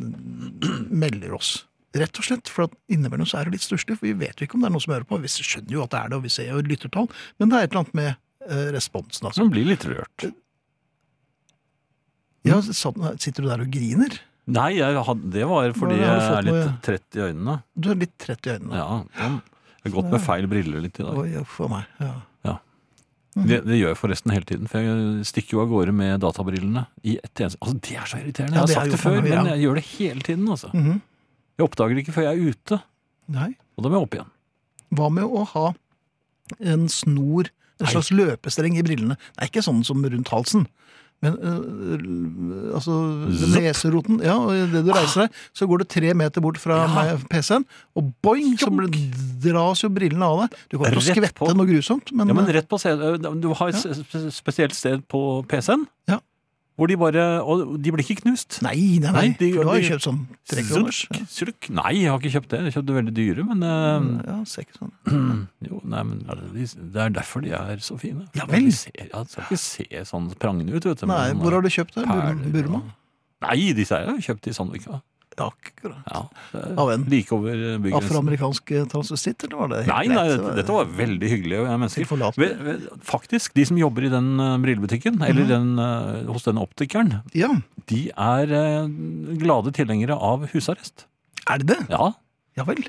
[SPEAKER 2] melder oss. Rett og slett, for at innimellom så er det litt stusslig, for vi vet jo ikke om det er noen som hører på. Vi skjønner jo at det er det, og vi ser jo lyttertall, men det er et eller annet med eh, responsen, altså.
[SPEAKER 3] Man blir litt rørt.
[SPEAKER 2] Ja, satt- sitter du der og griner?
[SPEAKER 3] Nei, jeg hadde, det var fordi
[SPEAKER 2] Hva har
[SPEAKER 3] jeg
[SPEAKER 2] du
[SPEAKER 3] er
[SPEAKER 2] fått
[SPEAKER 3] litt
[SPEAKER 2] med-
[SPEAKER 3] trett i øynene.
[SPEAKER 2] Du er litt trett i øynene.
[SPEAKER 3] Ja, sånn. Jeg har gått med feil briller litt i dag.
[SPEAKER 2] Oi, uff a meg. Ja.
[SPEAKER 3] Det, det gjør jeg forresten hele tiden, for jeg stikker jo av gårde med databrillene. i et eneste... Altså, Det er så irriterende!
[SPEAKER 2] Ja,
[SPEAKER 3] Jeg har
[SPEAKER 2] det
[SPEAKER 3] sagt
[SPEAKER 2] er
[SPEAKER 3] det
[SPEAKER 2] jo
[SPEAKER 3] før,
[SPEAKER 2] for meg,
[SPEAKER 3] men
[SPEAKER 2] ja.
[SPEAKER 3] jeg gjør det hele tiden. altså.
[SPEAKER 2] Mhm.
[SPEAKER 3] Jeg oppdager det ikke før jeg er ute,
[SPEAKER 2] Nei.
[SPEAKER 3] og da må jeg opp igjen.
[SPEAKER 2] Hva med å ha en snor, en
[SPEAKER 3] Nei.
[SPEAKER 2] slags løpestreng i brillene? Nei, ikke sånn som rundt halsen. Men øh, altså
[SPEAKER 3] Zopp.
[SPEAKER 2] neseroten Ja, og idet du reiser deg, så går du tre meter bort fra
[SPEAKER 3] Ja.
[SPEAKER 2] meg- PC-en, og boing, så blir- dras jo brillene av deg. Du kommer til å
[SPEAKER 3] Rett
[SPEAKER 2] skvette
[SPEAKER 3] på.
[SPEAKER 2] noe grusomt, men, øh,
[SPEAKER 3] Ja, men rett på CD, Du har et spe- spesielt sted på PC-en
[SPEAKER 2] Ja.
[SPEAKER 3] hvor de bare Og de blir ikke knust.
[SPEAKER 2] Nei, nei, nei.
[SPEAKER 3] Nei, de-
[SPEAKER 2] for du har
[SPEAKER 3] de-
[SPEAKER 2] jo kjøpt sånn trekroners.
[SPEAKER 3] Zulk, zulk. Nei, jeg har ikke kjøpt det. Jeg kjøpte veldig dyre, men
[SPEAKER 2] Ja.
[SPEAKER 3] eh,
[SPEAKER 2] ja, ser ikke sånn.
[SPEAKER 3] (clears throat) Jo, nei, men de- Det er derfor de er så fine.
[SPEAKER 2] Ja vel.
[SPEAKER 3] De ser, ja, de skal ikke se sånn prangende ut, vet du.
[SPEAKER 2] Nei, hvor har du kjøpt det? Bur- Burma?
[SPEAKER 3] Nei, disse her har jeg kjøpt i Sandvika.
[SPEAKER 2] Ja, akkurat.
[SPEAKER 3] Ja, det er
[SPEAKER 2] Av en
[SPEAKER 3] like over eh, bygrensen.
[SPEAKER 2] afroamerikansk eh, transvestitt, eller var det helt
[SPEAKER 3] Nei,
[SPEAKER 2] greit?
[SPEAKER 3] nei,
[SPEAKER 2] Det
[SPEAKER 3] dette, dette var veldig hyggelige mennesker.
[SPEAKER 2] tilforlatelig.
[SPEAKER 3] Ve- ve- Faktisk, de som jobber i den eh, brillebutikken, eller den, eh, hos den optikeren,
[SPEAKER 2] Ja,
[SPEAKER 3] de er eh, glade tilhengere av husarrest.
[SPEAKER 2] er det det?
[SPEAKER 3] Ja,
[SPEAKER 2] Ja vel.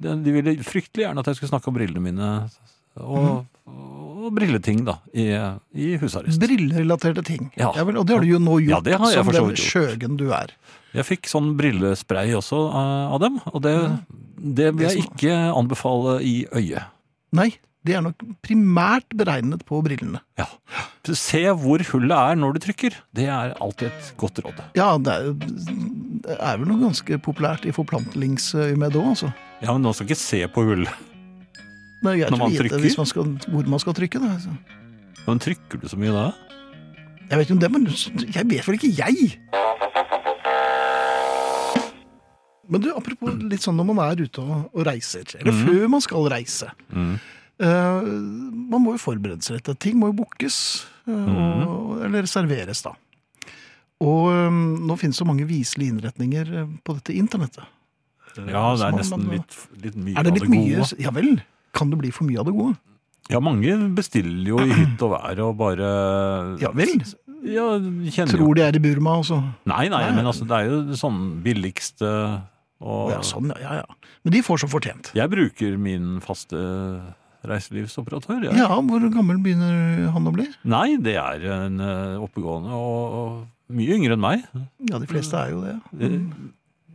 [SPEAKER 3] De de ville fryktelig gjerne at jeg skulle snakke om brillene mine og, og brilleting, da, i, i husarrest.
[SPEAKER 2] Brillerelaterte ting.
[SPEAKER 3] Ja.
[SPEAKER 2] vel, og det har du jo nå gjort,
[SPEAKER 3] Ja, det har jeg
[SPEAKER 2] som
[SPEAKER 3] for så
[SPEAKER 2] den
[SPEAKER 3] vidt
[SPEAKER 2] skjøgen du er.
[SPEAKER 3] Jeg fikk sånn brillespray også eh, av dem, og det, det vil jeg ikke anbefale i øyet.
[SPEAKER 2] Nei, det er nok primært beregnet på brillene.
[SPEAKER 3] Ja. Se hvor hullet er når du trykker. Det er alltid et godt råd.
[SPEAKER 2] Ja, det er, det er vel noe ganske populært i forplantningsøyemed òg, altså.
[SPEAKER 3] Ja, men nå skal ikke se på hull.
[SPEAKER 2] Det er greit
[SPEAKER 3] Når man
[SPEAKER 2] å vite
[SPEAKER 3] trykker?
[SPEAKER 2] hvis man skal, hvor man skal trykke. Da. altså.
[SPEAKER 3] (laughs) Men trykker du så mye da?
[SPEAKER 2] Jeg vet ikke om det, men jeg vet vel ikke jeg! Men du, apropos litt sånn når man er ute og, og reiser, eller
[SPEAKER 3] Mhm.
[SPEAKER 2] før man skal reise. Eh, man må jo forberede seg litt. Ting må jo bookes, eh, og,
[SPEAKER 3] Mhm.
[SPEAKER 2] eller reserveres, da. Og eh, nå finnes det så mange viselige innretninger eh, på dette internettet.
[SPEAKER 3] Ja, det er
[SPEAKER 2] Så man-
[SPEAKER 3] nesten
[SPEAKER 2] man-
[SPEAKER 3] litt, litt mye
[SPEAKER 2] Er det
[SPEAKER 3] av
[SPEAKER 2] litt
[SPEAKER 3] det gode.
[SPEAKER 2] mye? Ja vel. Kan det bli for mye av det gode?
[SPEAKER 3] Ja, mange bestiller
[SPEAKER 2] (clears throat)
[SPEAKER 3] jo i hytt og vær og bare
[SPEAKER 2] Ja vel.
[SPEAKER 3] Ja, kjenner jo
[SPEAKER 2] Tror de er i Burma, og så
[SPEAKER 3] Nei, nei,
[SPEAKER 2] Nei.
[SPEAKER 3] men altså, det er jo sånn billigste
[SPEAKER 2] Å
[SPEAKER 3] og
[SPEAKER 2] ja, sånn, ja, ja, ja. Men de får som fortjent.
[SPEAKER 3] Jeg bruker min faste reiselivsoperatør. jeg.
[SPEAKER 2] Ja, hvor gammel begynner han å bli?
[SPEAKER 3] Nei, det er en eh, oppegående og, og mye yngre enn meg.
[SPEAKER 2] Ja, de fleste er jo det.
[SPEAKER 3] Eh,
[SPEAKER 2] Mm.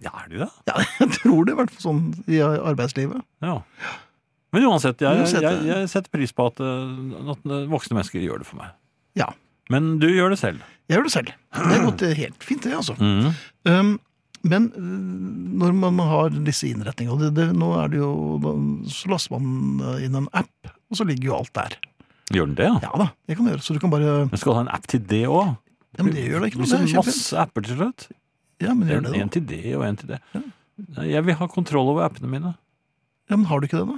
[SPEAKER 3] Ja, er de det?
[SPEAKER 2] Ja, (laughs) jeg tror det, i hvert fall sånn i arbeidslivet.
[SPEAKER 3] Ja. Men uansett, jeg,
[SPEAKER 2] Uansett,
[SPEAKER 3] jeg,
[SPEAKER 2] ja.
[SPEAKER 3] jeg setter pris på at, eh, at voksne mennesker gjør det for meg.
[SPEAKER 2] Ja.
[SPEAKER 3] Men du gjør det selv.
[SPEAKER 2] Jeg gjør det selv. Det har gått helt fint, det, altså.
[SPEAKER 3] Mhm.
[SPEAKER 2] Um, men øh, når man har disse innretningene og det, det, Nå er det jo da- Så laster man øh, inn en app, og så ligger jo alt der.
[SPEAKER 3] Gjør den det?
[SPEAKER 2] Ja da, det kan du gjøre. Så du kan bare
[SPEAKER 3] Men skal du ha en app til det òg?
[SPEAKER 2] Ja, men det gjør det ikke noe.
[SPEAKER 3] Det
[SPEAKER 2] Det
[SPEAKER 3] blir
[SPEAKER 2] er
[SPEAKER 3] så
[SPEAKER 2] kjempefint.
[SPEAKER 3] masse apper til slutt.
[SPEAKER 2] Ja, men gjør
[SPEAKER 3] En,
[SPEAKER 2] det,
[SPEAKER 3] en
[SPEAKER 2] da.
[SPEAKER 3] til det og en til det. Nei, Jeg vil ha kontroll over appene mine.
[SPEAKER 2] Ja, men har du ikke det, da?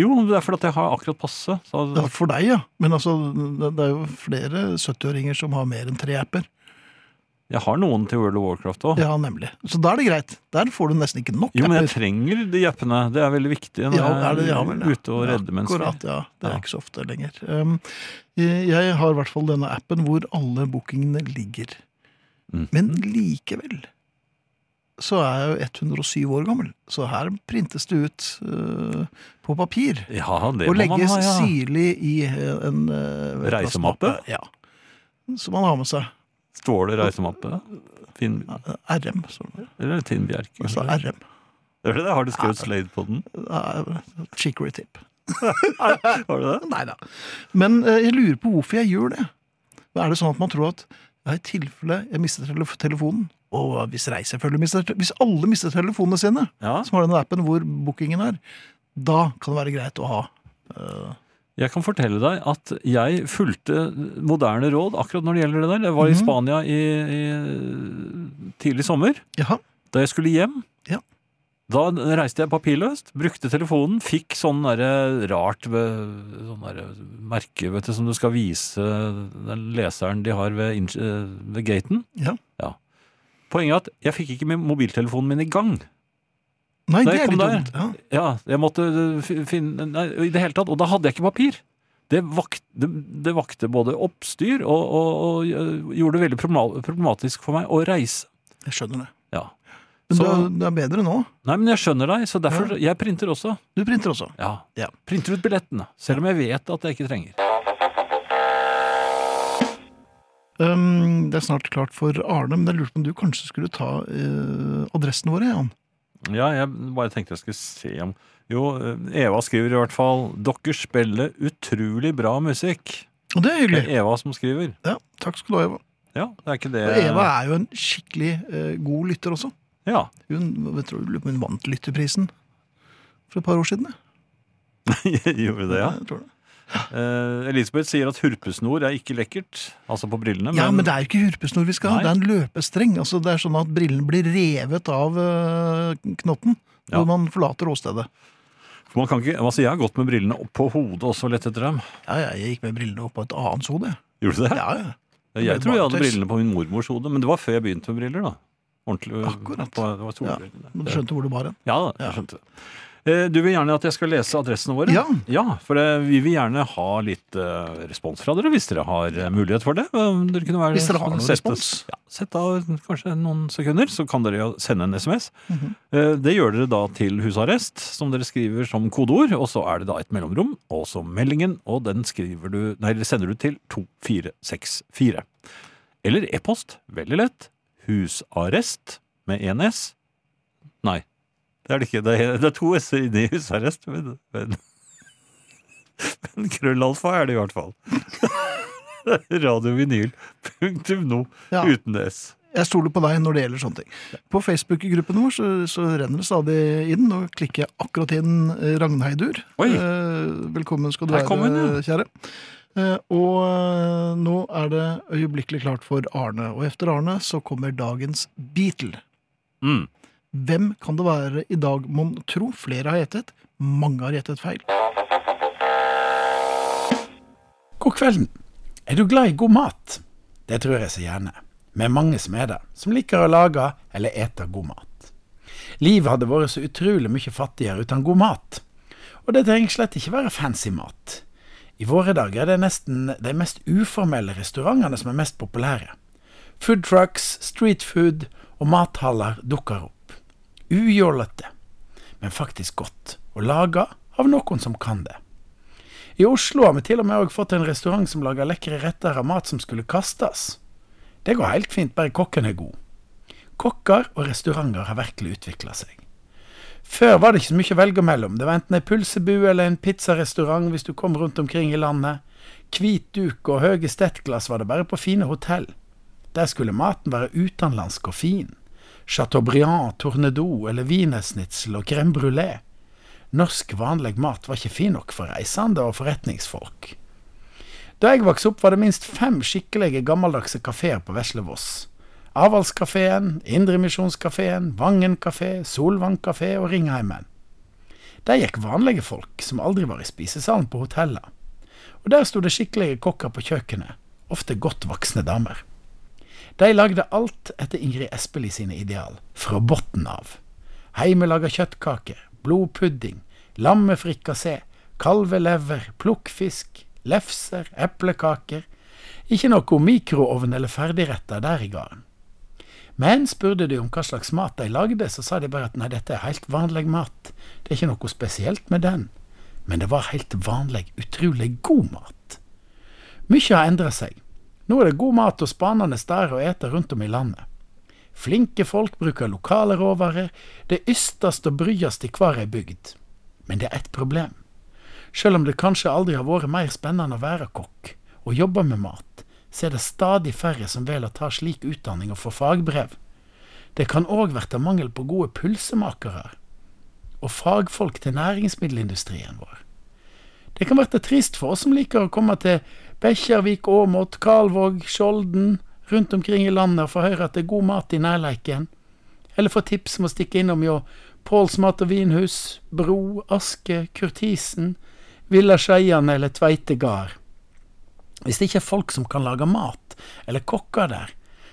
[SPEAKER 3] Jo, det er fordi at jeg har akkurat passe. Så,
[SPEAKER 2] Ja, for deg, ja. Men altså, det, det er jo flere 70-åringer som har mer enn tre apper.
[SPEAKER 3] Jeg har noen til World of Warcraft òg.
[SPEAKER 2] Ja, nemlig. Så da er det greit. Der får du nesten ikke nok
[SPEAKER 3] Ah. Jo, men jeg
[SPEAKER 2] apper.
[SPEAKER 3] trenger de appene. Det er veldig viktig når
[SPEAKER 2] Ja, er det-
[SPEAKER 3] jeg
[SPEAKER 2] ja
[SPEAKER 3] er
[SPEAKER 2] vel, ja.
[SPEAKER 3] ute og redder mennesker.
[SPEAKER 2] Akkurat, ja. Det er
[SPEAKER 3] Ja.
[SPEAKER 2] ikke så ofte lenger. Um, jeg- jeg har i hvert fall denne appen hvor alle bookingene ligger.
[SPEAKER 3] Mhm.
[SPEAKER 2] Men likevel så er jeg jo 107 år gammel, så her printes det ut uh, på papir.
[SPEAKER 3] Ja, det
[SPEAKER 2] og
[SPEAKER 3] må man
[SPEAKER 2] legges
[SPEAKER 3] ha, ja.
[SPEAKER 2] sirlig i uh, en uh,
[SPEAKER 3] Reisemappe?
[SPEAKER 2] plastmappe. Ja. Som man har med seg.
[SPEAKER 3] Står det reisemappe? Finn,
[SPEAKER 2] Uh, RM. Så,
[SPEAKER 3] eller Tinn Bjerke?
[SPEAKER 2] altså RM.
[SPEAKER 3] Er det det? Har du skrevet Slade på
[SPEAKER 2] (laughs)
[SPEAKER 3] den?
[SPEAKER 2] Uh, chicory tip.
[SPEAKER 3] Har du det?
[SPEAKER 2] Nei da. Men eh, jeg lurer på hvorfor jeg gjør det. Er det sånn at man tror at ja, i tilfelle jeg mister telef telefonen Og hvis reisefølge mister te- Hvis alle mister telefonene sine,
[SPEAKER 3] Ja.
[SPEAKER 2] som har denne appen hvor bookingen er, da kan det være greit å ha. eh,
[SPEAKER 3] Jeg kan fortelle deg at jeg fulgte moderne råd akkurat når det gjelder det der. Jeg var i
[SPEAKER 2] Mhm.
[SPEAKER 3] Spania i, i tidlig sommer,
[SPEAKER 2] jaha.
[SPEAKER 3] da jeg skulle hjem.
[SPEAKER 2] Ja.
[SPEAKER 3] Da reiste jeg papirløst, brukte telefonen, fikk sånn derre rart ved, sånn derre merke vet du, som du skal vise den leseren de har ved, inns- eh, ved gaten.
[SPEAKER 2] Ja.
[SPEAKER 3] Poenget er at jeg fikk ikke min- mobiltelefonen min i gang.
[SPEAKER 2] Nei,
[SPEAKER 3] Der
[SPEAKER 2] det er
[SPEAKER 3] kom
[SPEAKER 2] litt
[SPEAKER 3] det.
[SPEAKER 2] dumt. Ja.
[SPEAKER 3] Ja, jeg måtte øh, fi- finne Nei, i det hele tatt. Og da hadde jeg ikke papir. Det, vakt, det, det vakte både oppstyr og, og, og øh, gjorde det veldig problema- problematisk for meg å reise.
[SPEAKER 2] Jeg skjønner det.
[SPEAKER 3] Ja.
[SPEAKER 2] Men
[SPEAKER 3] Så,
[SPEAKER 2] det, er, det er bedre nå.
[SPEAKER 3] nei, men jeg skjønner deg, så derfor Jeg printer også.
[SPEAKER 2] Du printer også.
[SPEAKER 3] Ja.
[SPEAKER 2] Ja.
[SPEAKER 3] Printer ut billettene. Selv om jeg vet at jeg ikke trenger.
[SPEAKER 2] Um, det er snart klart for Arne, men jeg lurte på om du kanskje skulle ta eh, adressen vår, Jan.
[SPEAKER 3] Ja, jeg bare tenkte jeg skulle se om Jo, øh, Eva skriver i hvert fall 'Dere spiller utrolig bra musikk'.
[SPEAKER 2] Og det er
[SPEAKER 3] Det
[SPEAKER 2] hyggelig.
[SPEAKER 3] er Eva som skriver.
[SPEAKER 2] Ja, takk skal du ha, Eva.
[SPEAKER 3] Ja, det er ikke det
[SPEAKER 2] Og Eva er jo en skikkelig eh, god lytter også.
[SPEAKER 3] Ja. (laughs)
[SPEAKER 2] Hun, vet du, lurer på om hun vant lytterprisen for et par år siden.
[SPEAKER 3] Gjorde det, ja.
[SPEAKER 2] Jeg tror det.
[SPEAKER 3] Eh, Elisabeth sier at hurpesnor er ikke lekkert, altså på brillene.
[SPEAKER 2] ja, men det er jo ikke hurpesnor vi skal ha,
[SPEAKER 3] Nei.
[SPEAKER 2] det er en løpestreng. Altså, det er sånn at brillen blir revet av eh, knotten
[SPEAKER 3] Ja.
[SPEAKER 2] når man forlater åstedet.
[SPEAKER 3] For man kan ikke, altså jeg har gått med brillene opp på hodet også lett etter dem.
[SPEAKER 2] Ja, ja, jeg gikk med brillene opp på et annet hode.
[SPEAKER 3] Gjorde du det?
[SPEAKER 2] Ja, ja. det
[SPEAKER 3] jeg
[SPEAKER 2] ble
[SPEAKER 3] tror jeg hadde
[SPEAKER 2] baktaus.
[SPEAKER 3] brillene på min mormors hode, men det var før jeg begynte med briller, da. Ordentlig.
[SPEAKER 2] Akkurat.
[SPEAKER 3] På, det
[SPEAKER 2] Ja,
[SPEAKER 3] var solbrillene.
[SPEAKER 2] Men du skjønte hvor det bar hen.
[SPEAKER 3] Ja da,
[SPEAKER 2] Ja.
[SPEAKER 3] jeg skjønte det. Eh, Du vil gjerne at jeg skal lese adressene våre?
[SPEAKER 2] Ja.
[SPEAKER 3] for eh, vi vil gjerne ha litt eh, respons fra dere, hvis dere har eh, mulighet for det. Eh, Dere kunne være,
[SPEAKER 2] Hvis dere har noen
[SPEAKER 3] sette-
[SPEAKER 2] respons.
[SPEAKER 3] Ja, sett av kanskje noen sekunder, så kan dere jo sende en SMS.
[SPEAKER 2] Mhm.
[SPEAKER 3] Eh, Det gjør dere da til husarrest, som dere skriver som kodeord, og så er det da et mellomrom, og så meldingen, og den skriver du, nei, eller sender du til 2464. Eller e-post, veldig lett, husarrest med en S. Nei, det er det ikke. Det er, det er to S inni husarrest, men, men, men krøllalfa er det i hvert fall. (laughs) Radiovinyl.no
[SPEAKER 2] Ja.
[SPEAKER 3] uten S.
[SPEAKER 2] Jeg stoler på deg når det gjelder sånne ting. På Facebook-gruppen vår så, så renner det stadig inn. Nå klikker jeg akkurat inn eh, Ragnheidur.
[SPEAKER 3] Oi.
[SPEAKER 2] Eh, velkommen skal du
[SPEAKER 3] Her
[SPEAKER 2] være,
[SPEAKER 3] kom hun, ja.
[SPEAKER 2] kjære. Eh, og eh, nå er det øyeblikkelig klart for Arne. Og etter Arne så kommer dagens Beatle.
[SPEAKER 3] Mm.
[SPEAKER 2] Hvem kan det være i dag, mon tro? Flere har gjettet. Mange har gjettet feil.
[SPEAKER 4] God kvelden. Er du glad i god mat? Det tror jeg så gjerne. Vi er mange som er det, som liker å lage eller ete god mat. Livet hadde vært så utrolig mye fattigere uten god mat. Og det trenger slett ikke være fancy mat. I våre dager er det nesten de mest uformelle restaurantene som er mest populære. Food trucks, street food og mathaller dukker opp. Ujålete, men faktisk godt, og laga av noen som kan det. I Oslo har vi til og med også fått en restaurant som lager lekre retter av mat som skulle kastes. Det går helt fint, bare kokken er god. Kokker og restauranter har virkelig utvikla seg. Før var det ikke så mye å velge mellom. Det var enten ei pølsebu eller en pizzarestaurant hvis du kom rundt omkring i landet. Hvit duk og høye stettglass var det bare på fine hotell. Der skulle maten være utenlandsk og fin. Chateaubriand, Tornedou eller wienersnitsel og crème brulé. Norsk vanlig mat var ikke fin nok for reisende og forretningsfolk. Da jeg vokste opp var det minst fem skikkelige gammeldagse kafeer på Veslevoss. Avaldskafeen, Indremisjonskafeen, Vangen kafé, Solvang kafé og Ringheimen. Der gikk vanlige folk som aldri var i spisesalen på hoteller. Og der sto det skikkelige kokker på kjøkkenet, ofte godt voksne damer. De lagde alt etter Ingrid Espelid sine ideal, fra bunnen av. Heimelaga kjøttkaker, blodpudding, lammefrikassé, kalvelever, plukkfisk, lefser, eplekaker. Ikke noe mikroovn eller ferdigretter der i gården. Men spurte de om hva slags mat de lagde, så sa de bare at nei, dette er helt vanlig mat, det er ikke noe spesielt med den. Men det var helt vanlig, utrolig god mat. Mykje har endra seg. Nå er det god mat og spanende steder å ete rundt om i landet. Flinke folk bruker lokale råvarer, det ystast og bryast i hver ei bygd. Men det er ett problem. Sjøl om det kanskje aldri har vært mer spennende å være kokk og jobbe med mat, så er det stadig færre som velger å ta slik utdanning og få fagbrev. Det kan òg verte mangel på gode pølsemakere og fagfolk til næringsmiddelindustrien vår. Det kan være trist for oss som liker å komme til Bekkjarvik, Åmot, Kalvåg, Skjolden, rundt omkring i landet og få høre at det er god mat i nærleiken. Eller få tips om å stikke innom hjå Påls mat og vinhus, Bro, Aske, Kurtisen, Villa Skeiane eller Tveite gard. Hvis det ikke er folk som kan lage mat, eller kokker der,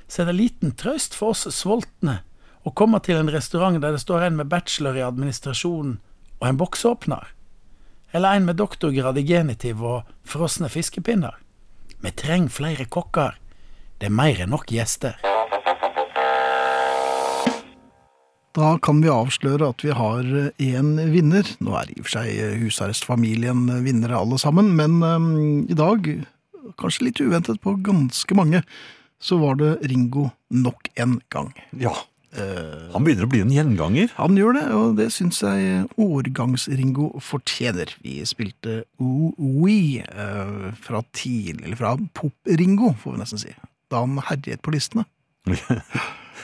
[SPEAKER 4] så er det liten trøst for oss sultne å komme til en restaurant der det står en med bachelor i administrasjon og en boksåpner eller en med doktorgrad i genitiv og frosne fiskepinner. Vi trenger flere kokker. Det er mer enn nok gjester.
[SPEAKER 2] Da kan vi avsløre at vi har én vinner. Nå er i og for seg eh, husarrestfamilien eh, vinnere alle sammen, men eh, i dag, kanskje litt uventet på ganske mange, så var det Ringo nok en gang.
[SPEAKER 3] Ja. Han begynner å bli en gjenganger.
[SPEAKER 2] Han gjør det, og det syns jeg årgangs-Ringo fortjener. Vi spilte Ooh Wee eh, fra tidlig, eller fra Pop-Ringo, får vi nesten si. Da han herjet på listene.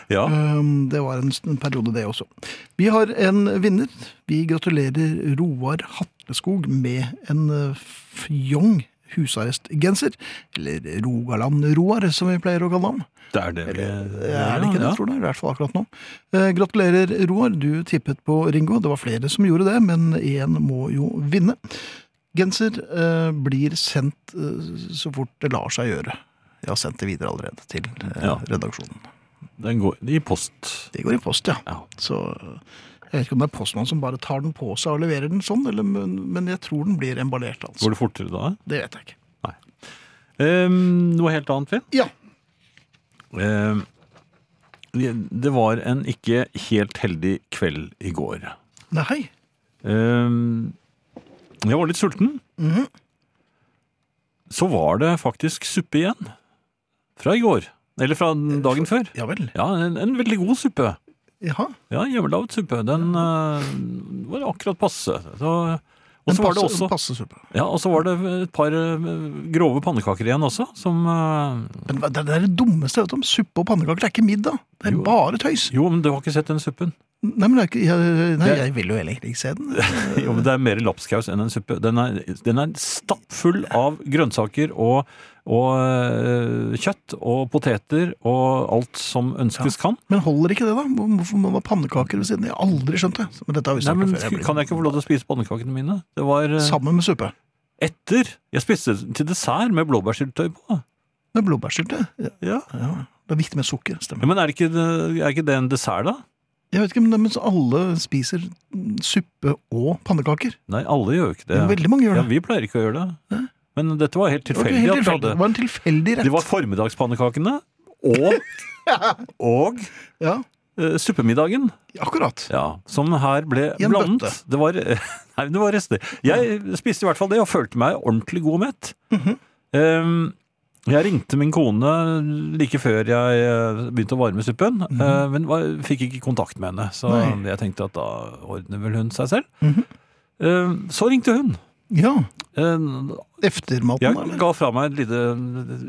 [SPEAKER 3] Ja.
[SPEAKER 2] Um, Det var en stund- periode, det også. Vi har en vinner. Vi gratulerer Roar Hatleskog med en eh, fjong husarrestgenser. Eller Rogaland-Roar, som vi pleier å kalle ham.
[SPEAKER 3] Det er det vi
[SPEAKER 2] Er det ikke det,
[SPEAKER 3] ja.
[SPEAKER 2] tror du? I hvert fall akkurat nå. Eh, Gratulerer, Roar. Du tippet på Ringo. Det var flere som gjorde det, men én må jo vinne. Genser eh, blir sendt eh, så fort det lar seg gjøre. Jeg har sendt det videre allerede til eh,
[SPEAKER 3] Ja.
[SPEAKER 2] redaksjonen.
[SPEAKER 3] Den går i post.
[SPEAKER 2] Det går i post, ja.
[SPEAKER 3] Ja.
[SPEAKER 2] Så eh, Jeg vet ikke om det er postmannen som bare tar den på seg og leverer den sånn, eller, men, men jeg tror den blir emballert, altså.
[SPEAKER 3] Går det fortere da?
[SPEAKER 2] Det vet jeg ikke.
[SPEAKER 3] Ehm, noe helt annet, Finn?
[SPEAKER 2] Ja,
[SPEAKER 3] Ehm, det var en ikke helt heldig kveld i går.
[SPEAKER 2] nei.
[SPEAKER 3] Ehm, jeg var litt sulten. Så var det faktisk suppe igjen. Fra i går. Eller fra dagen før.
[SPEAKER 2] Ja vel.
[SPEAKER 3] Ja, en, en veldig god suppe.
[SPEAKER 2] Jaha.
[SPEAKER 3] Ja, hjemmelaget suppe. Den eh, var akkurat passe. Så, og
[SPEAKER 2] Men
[SPEAKER 3] så var det
[SPEAKER 2] passe-
[SPEAKER 3] også
[SPEAKER 2] passe suppe.
[SPEAKER 3] ja, og så var det et par eh, grove pannekaker igjen også, som eh,
[SPEAKER 2] Men hva- det det er det dummeste jeg vet om. Suppe og pannekaker, det er ikke middag. Det er
[SPEAKER 3] Jo.
[SPEAKER 2] bare tøys.
[SPEAKER 3] Jo, men du har ikke sett den suppen.
[SPEAKER 2] Nei, men det er ikke, jeg, nei,
[SPEAKER 3] Det-
[SPEAKER 2] jeg vil jo heller ikke se den.
[SPEAKER 3] Jo, men Det er mer lapskaus enn en suppe. Den er, den er stappfull av grønnsaker og, og eh, kjøtt og poteter og alt som ønskes kan.
[SPEAKER 2] Men holder ikke det, da? Hvorfor må man ha pannekaker ved siden? Jeg har aldri skjønt det. Men dette har vi
[SPEAKER 3] Nei,
[SPEAKER 2] snakket
[SPEAKER 3] men
[SPEAKER 2] om før.
[SPEAKER 3] sk- Kan jeg ikke få lov til
[SPEAKER 2] sånn-
[SPEAKER 3] å spise pannekakene mine? Det var eh,
[SPEAKER 2] Sammen med suppe.
[SPEAKER 3] etter. Jeg spiste til dessert med blåbærsyltetøy på.
[SPEAKER 2] Med blåbærsylte. Ja,
[SPEAKER 3] Ja.
[SPEAKER 2] ja. Det er viktig med sukker.
[SPEAKER 3] Ja,
[SPEAKER 2] Stemmer.
[SPEAKER 3] men er ikke, det- er ikke det en dessert, da?
[SPEAKER 2] Jeg vet ikke, men men så alle spiser mm, suppe og pannekaker.
[SPEAKER 3] Nei, alle gjør jo ikke det.
[SPEAKER 2] Men Veldig mange gjør
[SPEAKER 3] Ja,
[SPEAKER 2] det.
[SPEAKER 3] vi pleier ikke å gjøre det. Men dette var helt
[SPEAKER 2] Det var,
[SPEAKER 3] tilfeldig.
[SPEAKER 2] helt
[SPEAKER 3] at vi
[SPEAKER 2] tilfeldig. det
[SPEAKER 3] hadde-
[SPEAKER 2] var en tilfeldig rett.
[SPEAKER 3] Det var formiddagspannekakene
[SPEAKER 2] (laughs)
[SPEAKER 3] og, og
[SPEAKER 2] Ja,
[SPEAKER 3] eh, suppemiddagen.
[SPEAKER 2] akkurat.
[SPEAKER 3] Ja, som her ble
[SPEAKER 2] I en
[SPEAKER 3] blandet.
[SPEAKER 2] bøtte.
[SPEAKER 3] Det var, (laughs) nei, det var rester. Jeg spiste i hvert fall det og følte meg ordentlig god og mett.
[SPEAKER 2] Mhm.
[SPEAKER 3] Ehm, jeg ringte min kone like før jeg eh, begynte å varme suppen, eh, men var, fikk ikke kontakt med henne. Så
[SPEAKER 2] Mhm. Nei.
[SPEAKER 3] jeg tenkte at da ordner vel hun seg selv.
[SPEAKER 2] Mhm.
[SPEAKER 3] Ehm, så ringte hun.
[SPEAKER 2] Ja.
[SPEAKER 3] Ehm,
[SPEAKER 2] Eftermaten,
[SPEAKER 3] jeg
[SPEAKER 2] eller?
[SPEAKER 3] ga fra meg et lite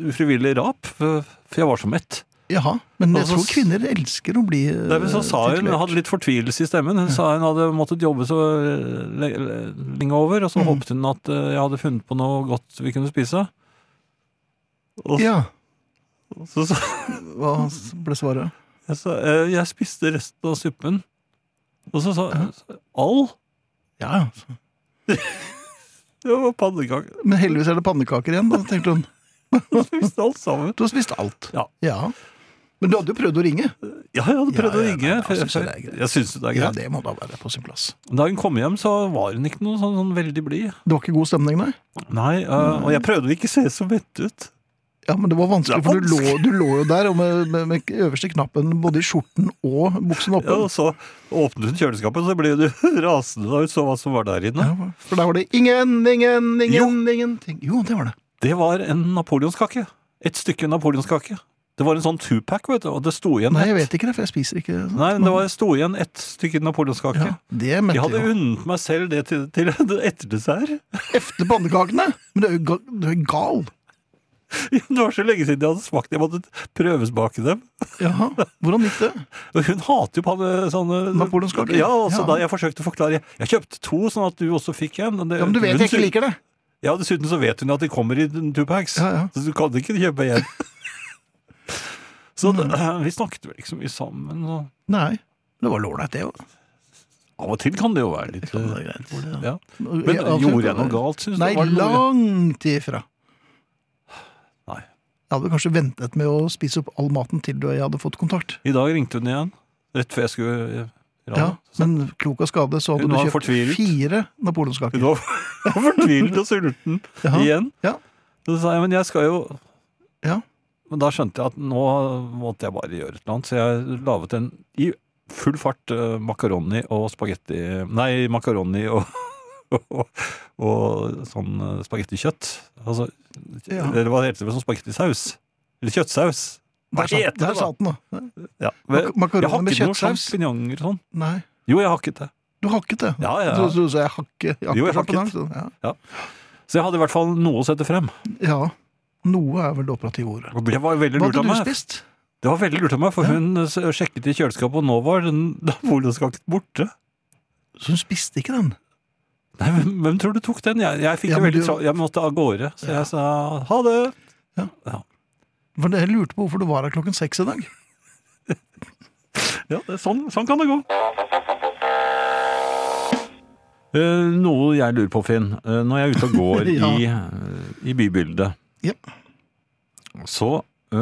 [SPEAKER 3] ufrivillig rap, for for jeg var så mett.
[SPEAKER 2] Jaha. Men jeg
[SPEAKER 3] Altså,
[SPEAKER 2] tror kvinner elsker å bli eh,
[SPEAKER 3] Nei, men så sa hun,
[SPEAKER 2] titulert.
[SPEAKER 3] hadde litt fortvilelse i stemmen, hun sa hun hadde måttet jobbe så le- le- lenge over, og så håpet hun at eh, jeg hadde funnet på noe godt vi kunne spise. Og
[SPEAKER 2] Ja.
[SPEAKER 3] så sa
[SPEAKER 2] Hva ble svaret?
[SPEAKER 3] jeg, sa, eh, jeg spiste resten av suppen. Og så sa hun, all?
[SPEAKER 2] Ja, ja.
[SPEAKER 3] Det var pannekaker.
[SPEAKER 2] Men heldigvis er det pannekaker igjen, da, tenkte hun.
[SPEAKER 3] Jeg spiste alt sammen.
[SPEAKER 2] Du har spist alt.
[SPEAKER 3] Ja.
[SPEAKER 2] Men du hadde jo prøvd å ringe.
[SPEAKER 3] Ja, jeg hadde prøvd
[SPEAKER 2] Ja,
[SPEAKER 3] å
[SPEAKER 2] ja,
[SPEAKER 3] ringe.
[SPEAKER 2] nei, da
[SPEAKER 3] før-
[SPEAKER 2] synes jeg
[SPEAKER 3] før-
[SPEAKER 2] det er greit.
[SPEAKER 3] jeg synes det er
[SPEAKER 2] Ja,
[SPEAKER 3] greit.
[SPEAKER 2] det må da være på sin plass.
[SPEAKER 3] Da hun kom hjem, så var hun ikke noe sånn, sånn veldig blid.
[SPEAKER 2] Det var ikke god stemning, nei?
[SPEAKER 3] Nei, eh, og jeg prøvde å ikke se så vett ut.
[SPEAKER 2] Ja, men det var vanskelig,
[SPEAKER 3] Det var
[SPEAKER 2] for du lå, du lå jo der og med, med, med øverste knappen både i skjorten og buksen
[SPEAKER 3] Ja,
[SPEAKER 2] oppe.
[SPEAKER 3] og sånn, så åpnet hun kjøleskapet, og så ble hun (laughs) rasende da hun så hva som var der inne.
[SPEAKER 2] Ja, for der var det ingen, ingen, ingen, ingenting. Jo, det var det.
[SPEAKER 3] Det var en napoleonskake. Et stykke napoleonskake. Det var en sånn two-pack, vet du, og det sto igjen
[SPEAKER 2] Nei, jeg
[SPEAKER 3] ett.
[SPEAKER 2] vet ikke det, for jeg spiser ikke sånt.
[SPEAKER 3] Nei, men det var, sto igjen ett stykke napoleonskake.
[SPEAKER 2] ja, Det
[SPEAKER 3] Jeg
[SPEAKER 2] møtte
[SPEAKER 3] hadde
[SPEAKER 2] jeg jo.
[SPEAKER 3] unnet meg selv det til, til (laughs) etter dessert.
[SPEAKER 2] Efter pannekakene! Men du er jo ga- du er jo gal.
[SPEAKER 3] (laughs) Det var så lenge siden jeg hadde smakt det. Jeg måtte prøvesmake dem.
[SPEAKER 2] Jaha, hvordan gikk det?
[SPEAKER 3] Og hun hater jo panne, sånne
[SPEAKER 2] Napoleonskaker?
[SPEAKER 3] Ja, og så
[SPEAKER 2] Ja.
[SPEAKER 3] da jeg forsøkte å forklare Jeg kjøpte to, sånn at du også fikk en. og det-
[SPEAKER 2] Ja, men du vet
[SPEAKER 3] hun
[SPEAKER 2] jeg ikke
[SPEAKER 3] sy-
[SPEAKER 2] liker det.
[SPEAKER 3] Ja, dessuten så vet hun at de kommer i two-packs.
[SPEAKER 2] Ja, ja.
[SPEAKER 3] Så du kan ikke kjøpe
[SPEAKER 2] (laughs)
[SPEAKER 3] igjen. så
[SPEAKER 2] Mm.
[SPEAKER 3] det, eh, vi snakket vel ikke så mye sammen. Og
[SPEAKER 2] Nei. Det var lårleit, det òg.
[SPEAKER 3] av og til kan det jo være litt
[SPEAKER 2] kan være greit,
[SPEAKER 3] eh,
[SPEAKER 2] ja.
[SPEAKER 3] ja. Men gjorde jeg noe galt, syns du?
[SPEAKER 2] Nei,
[SPEAKER 3] Var det noe-
[SPEAKER 2] langt ifra.
[SPEAKER 3] Nei.
[SPEAKER 2] Jeg hadde kanskje ventet med å spise opp all maten til jeg hadde fått kontakt.
[SPEAKER 3] I dag ringte hun igjen, rett før jeg skulle eh, i radio.
[SPEAKER 2] Ja, Men klok av skade så hadde
[SPEAKER 3] Hun
[SPEAKER 2] du
[SPEAKER 3] var
[SPEAKER 2] kjøpt
[SPEAKER 3] fortvilet.
[SPEAKER 2] fire
[SPEAKER 3] Hun
[SPEAKER 2] napoleonskaker.
[SPEAKER 3] var (laughs) fortvilet og sulten
[SPEAKER 2] Jaha.
[SPEAKER 3] igjen.
[SPEAKER 2] Ja.
[SPEAKER 3] Så sa jeg, men jeg skal jo
[SPEAKER 2] Ja.
[SPEAKER 3] Men da skjønte jeg at nå måtte jeg bare gjøre et eller annet, så jeg laget en i full fart eh, makaroni og spagetti Nei, makaroni og, (laughs) og, og sånn eh, spagettikjøtt. Altså,
[SPEAKER 2] Ja.
[SPEAKER 3] Eller hva heter det? Sånn spagettisaus? Eller kjøttsaus? Hva
[SPEAKER 2] Der satt-
[SPEAKER 3] heter det,
[SPEAKER 2] Der
[SPEAKER 3] da?
[SPEAKER 2] satt den, da.
[SPEAKER 3] Ja.
[SPEAKER 2] Mak-
[SPEAKER 3] Jeg
[SPEAKER 2] Makaroni
[SPEAKER 3] har
[SPEAKER 2] med
[SPEAKER 3] ikke noe
[SPEAKER 2] kjøttsaus.
[SPEAKER 3] sjampinjonger og sånn.
[SPEAKER 2] Nei,
[SPEAKER 3] Jo, jeg har ikke det.
[SPEAKER 2] du hakket det.
[SPEAKER 3] Ja, ja,
[SPEAKER 2] Du
[SPEAKER 3] ja.
[SPEAKER 2] trodde jeg hakke, hakke
[SPEAKER 3] Jo, jeg
[SPEAKER 2] sjampinjong, så- Ja.
[SPEAKER 3] Så jeg hadde i hvert fall noe å sette frem.
[SPEAKER 2] ja. Noe er vel det operative ordet.
[SPEAKER 3] Og det var veldig
[SPEAKER 2] Hva
[SPEAKER 3] lurt
[SPEAKER 2] hadde
[SPEAKER 3] av
[SPEAKER 2] du
[SPEAKER 3] meg.
[SPEAKER 2] spist?
[SPEAKER 3] Det var veldig lurt av meg, for
[SPEAKER 2] Ja.
[SPEAKER 3] hun eh, sjekket i kjøleskapet, og nå var den (laughs) napoleonskaken borte.
[SPEAKER 2] Så hun spiste ikke den.
[SPEAKER 3] Nei, hvem, hvem tror du tok den? Jeg, jeg fikk
[SPEAKER 2] Ja,
[SPEAKER 3] det
[SPEAKER 2] men
[SPEAKER 3] veldig
[SPEAKER 2] du-
[SPEAKER 3] tra... Jeg måtte av gårde, så jeg sa ha det.
[SPEAKER 2] For jeg lurte på hvorfor du var her klokken seks i dag.
[SPEAKER 3] Ja, det, sånn, sånn kan det gå. Eh, noe jeg lurer på, Finn. Eh, når jeg er (laughs) ute og går
[SPEAKER 2] Ja.
[SPEAKER 3] i, eh, i bybildet,
[SPEAKER 2] Ja.
[SPEAKER 3] så eh,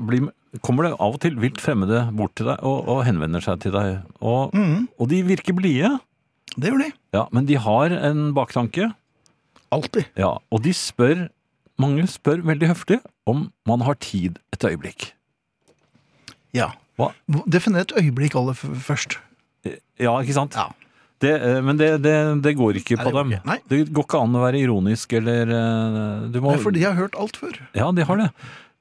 [SPEAKER 3] blir kommer det av og til vilt fremmede bort til deg og, og henvender seg til deg. Og, og de virker blide,
[SPEAKER 2] Det gjør de.
[SPEAKER 3] ja, men de har en baktanke.
[SPEAKER 2] Alltid.
[SPEAKER 3] Ja, og de spør, mange spør veldig høflig om man har tid et øyeblikk.
[SPEAKER 2] Ja.
[SPEAKER 3] Hva?
[SPEAKER 2] Definer et øyeblikk aller f- først.
[SPEAKER 3] Eh, Ja, ikke sant? Det, eh, men det, det, det går ikke
[SPEAKER 4] Nei,
[SPEAKER 3] på
[SPEAKER 4] det går
[SPEAKER 3] dem.
[SPEAKER 2] ikke. Nei.
[SPEAKER 3] Det går ikke an å være ironisk eller eh, du må,
[SPEAKER 2] Nei, For de har hørt alt før.
[SPEAKER 3] Ja, de har det.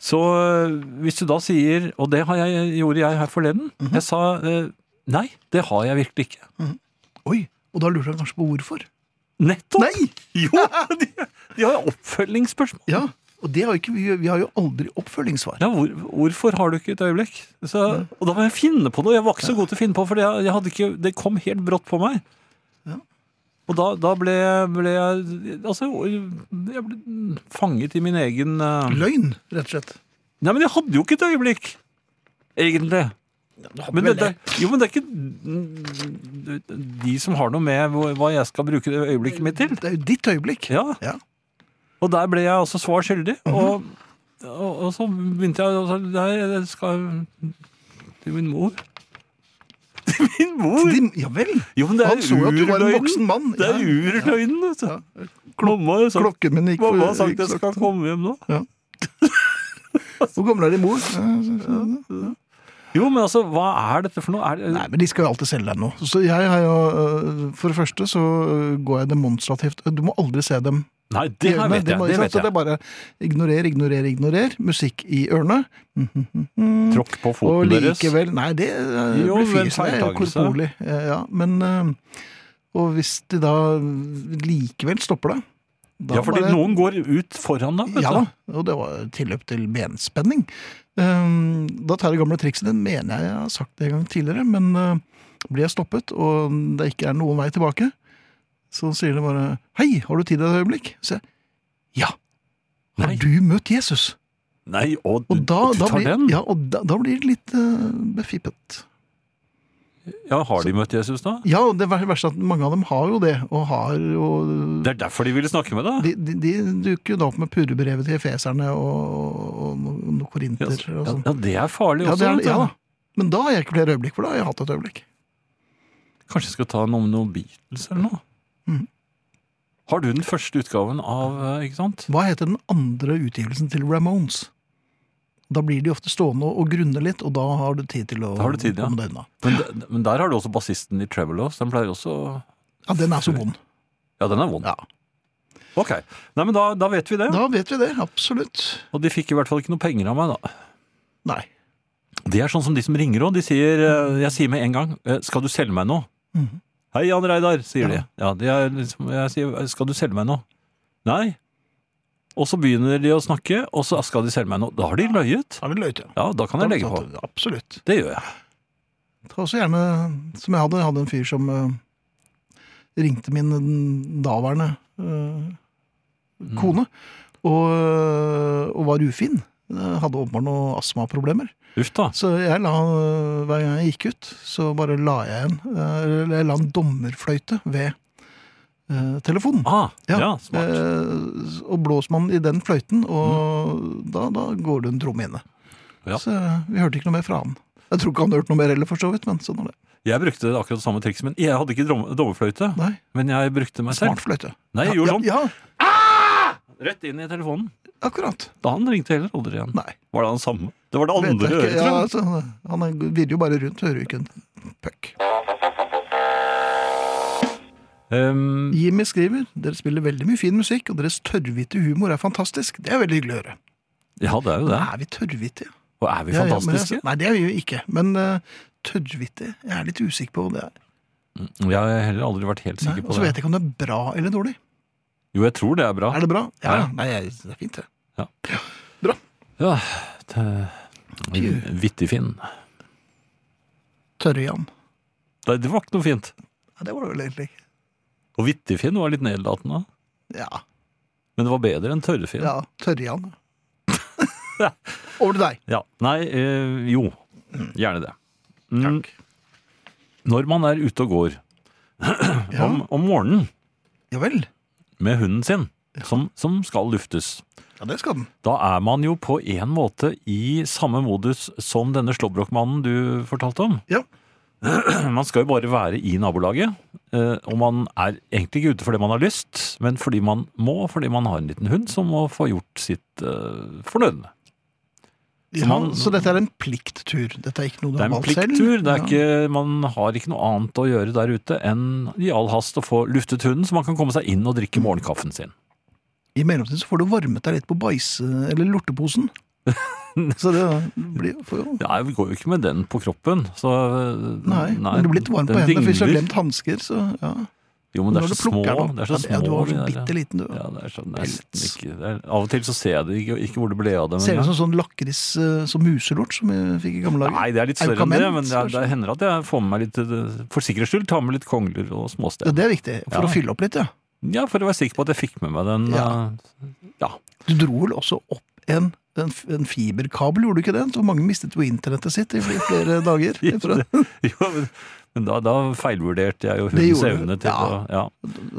[SPEAKER 3] Så eh, hvis du da sier, og det har jeg, gjorde jeg her forleden, jeg sa eh, nei, det har jeg virkelig ikke.
[SPEAKER 2] Oi, og da lurer jeg kanskje på hvorfor.
[SPEAKER 3] Nettopp!
[SPEAKER 2] Nei!
[SPEAKER 3] Jo,
[SPEAKER 2] (laughs)
[SPEAKER 3] de, de har oppfølgingsspørsmål.
[SPEAKER 2] Ja, og det har ikke vi, vi har jo aldri oppfølgingssvar.
[SPEAKER 3] Ja, hvor, hvorfor har du ikke et øyeblikk? Så, og da må jeg finne på noe. Jeg var ikke så god til å finne på, for det, jeg hadde ikke, det kom helt brått på meg.
[SPEAKER 2] Ja.
[SPEAKER 3] Og da, da ble, jeg- ble jeg Altså, jeg ble fanget i min egen eh,
[SPEAKER 2] Løgn, rett og slett.
[SPEAKER 3] Nei, men jeg hadde jo ikke et øyeblikk, egentlig. Men det, det, jo, men det er ikke de som har noe med hvor- hva jeg skal bruke det øyeblikket mitt til.
[SPEAKER 2] Det er jo ditt øyeblikk.
[SPEAKER 3] Ja.
[SPEAKER 2] Ja. Mhm.
[SPEAKER 3] Og der ble jeg altså svar skyldig. og, og, og så begynte jeg å si Nei, jeg skal til min mor. (laughs) Til min mor!
[SPEAKER 2] Din, ja vel.
[SPEAKER 3] Jo, men det
[SPEAKER 2] Han så
[SPEAKER 3] er
[SPEAKER 2] jo at du var en voksen
[SPEAKER 3] urløgnen.
[SPEAKER 2] mann.
[SPEAKER 3] Det er
[SPEAKER 2] Ja.
[SPEAKER 3] urløgnen, vet du. Mamma har sagt,
[SPEAKER 2] Klokken min gikk
[SPEAKER 3] mamma har sagt
[SPEAKER 2] gikk
[SPEAKER 3] jeg skal
[SPEAKER 2] sakte.
[SPEAKER 3] komme hjem nå.
[SPEAKER 2] Hvor gammel er din mor? Ja, så- så-
[SPEAKER 3] Jo, men altså, hva er dette for noe? Er,
[SPEAKER 2] Nei, men de skal jo alltid selge deg noe. Så jeg har jo, øh, for det første så øh, går jeg demonstrativt. Du må aldri se dem
[SPEAKER 3] nei, det her
[SPEAKER 2] ørene.
[SPEAKER 3] vet jeg.
[SPEAKER 2] må-
[SPEAKER 3] Det
[SPEAKER 2] så
[SPEAKER 3] vet
[SPEAKER 2] Det
[SPEAKER 3] jeg.
[SPEAKER 2] er bare ignorer, ignorer, ignorer. Musikk i ørene. Mm,
[SPEAKER 3] Tråkk på
[SPEAKER 2] Og
[SPEAKER 3] foten deres.
[SPEAKER 2] likevel Nei, det øh,
[SPEAKER 3] Jo,
[SPEAKER 2] blir
[SPEAKER 3] men
[SPEAKER 2] fisen. Det er
[SPEAKER 3] feiltagelse.
[SPEAKER 2] korporlig. Ja, ja, men øh, Og hvis de da likevel stopper deg da
[SPEAKER 3] Ja, fordi
[SPEAKER 2] bare-
[SPEAKER 3] noen går ut foran deg, vet
[SPEAKER 2] Ja da,
[SPEAKER 3] du.
[SPEAKER 2] og det var tilløp til benspenning. Ehm, Da tar jeg det gamle trikset ditt, mener jeg jeg har sagt det en gang tidligere, men eh, blir jeg stoppet, og det ikke er noen vei tilbake, så sier det bare 'Hei, har du tid et øyeblikk?' Så jeg 'Ja, har
[SPEAKER 3] Nei.
[SPEAKER 2] du møtt Jesus?'
[SPEAKER 3] Nei, og du,
[SPEAKER 2] Og da,
[SPEAKER 3] du
[SPEAKER 2] da,
[SPEAKER 3] tar
[SPEAKER 2] blir,
[SPEAKER 3] den. Ja.
[SPEAKER 2] ja, og da, da blir det litt eh, befippet.
[SPEAKER 3] har de møtt Jesus da?
[SPEAKER 2] Ja, og det ver- verste er at mange av dem har jo det, og har jo
[SPEAKER 3] Det er derfor de ville snakke med deg?
[SPEAKER 2] de, de, de dukker jo da opp med purrebrevet til efeserne og, og, og noen
[SPEAKER 3] Ja,
[SPEAKER 2] korinter og
[SPEAKER 3] ja,
[SPEAKER 2] sånn.
[SPEAKER 3] ja, det er farlig
[SPEAKER 2] Ja,
[SPEAKER 3] også. sånn.
[SPEAKER 2] det er,
[SPEAKER 3] vet du.
[SPEAKER 2] ja da. Men da har jeg ikke flere øyeblikk, for da har jeg hatt et øyeblikk.
[SPEAKER 3] Kanskje jeg skal ta noe om noe Beatles eller noe?
[SPEAKER 2] Mhm.
[SPEAKER 3] Har du den første utgaven av eh, Ikke sant?
[SPEAKER 2] Hva heter den andre utgivelsen til Ramones? Da blir de ofte stående og grunne litt, og da har du tid til å
[SPEAKER 3] Da har du tid, ja.
[SPEAKER 2] komme deg unna.
[SPEAKER 3] Men, de- men der har du også bassisten i Trevelos. Den pleier også
[SPEAKER 2] Ja, den er så vond.
[SPEAKER 3] Ja, den er vond.
[SPEAKER 2] Ja.
[SPEAKER 3] Ok. Nei, men da, da vet vi det.
[SPEAKER 2] Da vet vi det, absolutt.
[SPEAKER 3] Og de fikk i hvert fall ikke noe penger av meg, da.
[SPEAKER 2] Nei.
[SPEAKER 3] Det er sånn som de som ringer òg. De sier eh, Jeg sier med en gang eh, Skal du selge meg noe?
[SPEAKER 2] Mhm.
[SPEAKER 3] Hei, Jan Reidar, sier
[SPEAKER 2] Ja.
[SPEAKER 3] de. Ja, de er liksom, jeg sier, skal du selge meg noe? Nei. Og så begynner de å snakke, og så skal de selge meg noe. Da har de løyet.
[SPEAKER 2] Da er det løyte.
[SPEAKER 3] Ja, da kan jeg legge på.
[SPEAKER 2] Absolutt.
[SPEAKER 3] Det gjør jeg.
[SPEAKER 2] Ta også gjerne, som jeg hadde, jeg hadde en fyr som eh, ringte min daværende
[SPEAKER 3] Mm.
[SPEAKER 2] eh, kone, og, og var ufin. Eh, Hadde åpenbart noen astmaproblemer.
[SPEAKER 3] Uff da.
[SPEAKER 2] Så jeg la, hver gang jeg gikk ut, så bare la jeg en, eller jeg la en dommerfløyte ved eh, telefonen.
[SPEAKER 3] Ah, ja, smart.
[SPEAKER 2] Eh, og blåser man i den fløyten, og da, da går det en tromme inne.
[SPEAKER 3] Mm. Ja.
[SPEAKER 2] Så eh, vi hørte ikke noe mer fra han. Jeg tror ikke han hørte noe mer heller, for så vidt, men sånn er det.
[SPEAKER 3] Jeg brukte akkurat det samme trikset, men jeg hadde ikke drom- dommerfløyte.
[SPEAKER 2] Nei,
[SPEAKER 3] Men jeg brukte meg selv.
[SPEAKER 2] smart fløyte.
[SPEAKER 3] Nei, jeg gjorde sånn.
[SPEAKER 2] ja,
[SPEAKER 3] Rett inn i telefonen.
[SPEAKER 2] ja, akkurat.
[SPEAKER 3] Da han ringte heller aldri igjen.
[SPEAKER 2] Nei.
[SPEAKER 3] Var det han samme? Det var det
[SPEAKER 2] vet
[SPEAKER 3] andre
[SPEAKER 2] jeg
[SPEAKER 3] øret,
[SPEAKER 2] ikke. ja,
[SPEAKER 3] tror jeg.
[SPEAKER 2] altså, Han er- virrer jo bare rundt, hører jo ikke en puck.
[SPEAKER 3] Ehm,
[SPEAKER 2] Jimmy skriver dere spiller veldig mye fin musikk, og deres tørrhvite humor er fantastisk. Det er veldig hyggelig å høre.
[SPEAKER 3] ja, det er jo det.
[SPEAKER 2] Er vi tørrhvittige?
[SPEAKER 3] Og er vi
[SPEAKER 2] Ja, ja, men
[SPEAKER 3] fantastiske?
[SPEAKER 2] jeg- nei, det er vi jo ikke. Men uh, tørrhvittig, jeg er litt usikker på hva det er.
[SPEAKER 3] Jeg har heller aldri vært helt
[SPEAKER 2] Nei,
[SPEAKER 3] sikker
[SPEAKER 2] og
[SPEAKER 3] på
[SPEAKER 2] så vet
[SPEAKER 3] det.
[SPEAKER 2] jeg ikke om det er bra eller dårlig.
[SPEAKER 3] Jo, jeg tror det er bra.
[SPEAKER 2] Er det bra? Ja,
[SPEAKER 3] Ja.
[SPEAKER 2] nei, jeg, det er fint, det.
[SPEAKER 3] Ja, det er vittig fin.
[SPEAKER 2] Tørre-Jan.
[SPEAKER 3] Nei, det var ikke noe fint.
[SPEAKER 2] Ja, det var det vel egentlig. ikke.
[SPEAKER 3] Og vittig-Finn var litt nedlatende.
[SPEAKER 2] Ja.
[SPEAKER 3] Men det var bedre enn tørre-Finn. Ja.
[SPEAKER 2] ja
[SPEAKER 3] (laughs)
[SPEAKER 2] Tørre-Jan. Over til deg.
[SPEAKER 3] Nei, eh, jo. Gjerne det. Mm. Når man er ute og går
[SPEAKER 2] Ja,
[SPEAKER 3] om, om morgenen
[SPEAKER 2] ja vel.
[SPEAKER 3] med hunden sin, som, som skal luftes,
[SPEAKER 2] Ja, det skal den.
[SPEAKER 3] Da er man jo på en måte i samme modus som denne slåbrokmannen du fortalte om.
[SPEAKER 2] Ja.
[SPEAKER 3] (clears throat) Man skal jo bare være i nabolaget, eh, og man er egentlig ikke ute fordi man har lyst, men fordi man må, fordi man har en liten hund som må få gjort sitt eh, fornødne.
[SPEAKER 2] Ja,
[SPEAKER 3] man-
[SPEAKER 2] så dette er en plikttur. Dette er ikke noe du har
[SPEAKER 3] Det er en
[SPEAKER 2] valgt selv.
[SPEAKER 3] plikttur, det er
[SPEAKER 2] Ja.
[SPEAKER 3] ikke, man har ikke noe annet å gjøre der ute enn i all hast å få luftet hunden, så man kan komme seg inn og drikke morgenkaffen sin.
[SPEAKER 2] I mellomtiden så får du varmet deg litt på bæsje- eller
[SPEAKER 3] (laughs)
[SPEAKER 2] lorteposen. så det blir får jo
[SPEAKER 3] Nei, vi går jo ikke med den på kroppen, så eh,
[SPEAKER 2] Nei, men du blir litt varm på
[SPEAKER 3] den
[SPEAKER 2] hendene hvis du har
[SPEAKER 3] dingler.
[SPEAKER 2] glemt hansker. Så, ja.
[SPEAKER 3] Jo, men det
[SPEAKER 2] Når
[SPEAKER 3] er
[SPEAKER 2] du
[SPEAKER 3] så små.
[SPEAKER 2] plukker den opp-
[SPEAKER 3] Det er så
[SPEAKER 2] ja,
[SPEAKER 3] små.
[SPEAKER 2] Du har
[SPEAKER 3] de
[SPEAKER 2] så
[SPEAKER 3] der, ja.
[SPEAKER 2] bitte liten, du.
[SPEAKER 3] Ja, det er sånn
[SPEAKER 2] Pelts.
[SPEAKER 3] nesten ikke det er, Av og til så ser jeg det ikke, ikke hvor det ble av det. men-
[SPEAKER 2] Ser ut som sånn lakris eh, som muselort som vi fikk i gamle dager.
[SPEAKER 3] Nei, det er litt større enn
[SPEAKER 2] Aukament,
[SPEAKER 3] det, men det, er, det
[SPEAKER 2] kanskje?
[SPEAKER 3] hender at jeg får med meg litt eh, For sikkerhets skyld tar med litt kongler og
[SPEAKER 2] Ja,
[SPEAKER 3] småsten.
[SPEAKER 2] det er viktig. For
[SPEAKER 3] Ja.
[SPEAKER 2] å fylle opp litt, ja.
[SPEAKER 3] Ja, for å være sikker på at jeg fikk med meg den.
[SPEAKER 2] Ja.
[SPEAKER 3] eh,
[SPEAKER 2] Du dro vel også opp en, en, f- en fiberkabel, gjorde du ikke det? Så mange mistet jo internettet sitt i fl- flere
[SPEAKER 3] (laughs)
[SPEAKER 2] dager. etter det.
[SPEAKER 3] jo, men- men da, da feilvurderte jeg jo
[SPEAKER 2] Det
[SPEAKER 3] hundens
[SPEAKER 2] gjorde du.
[SPEAKER 3] evne til
[SPEAKER 2] Ja.
[SPEAKER 3] å ja.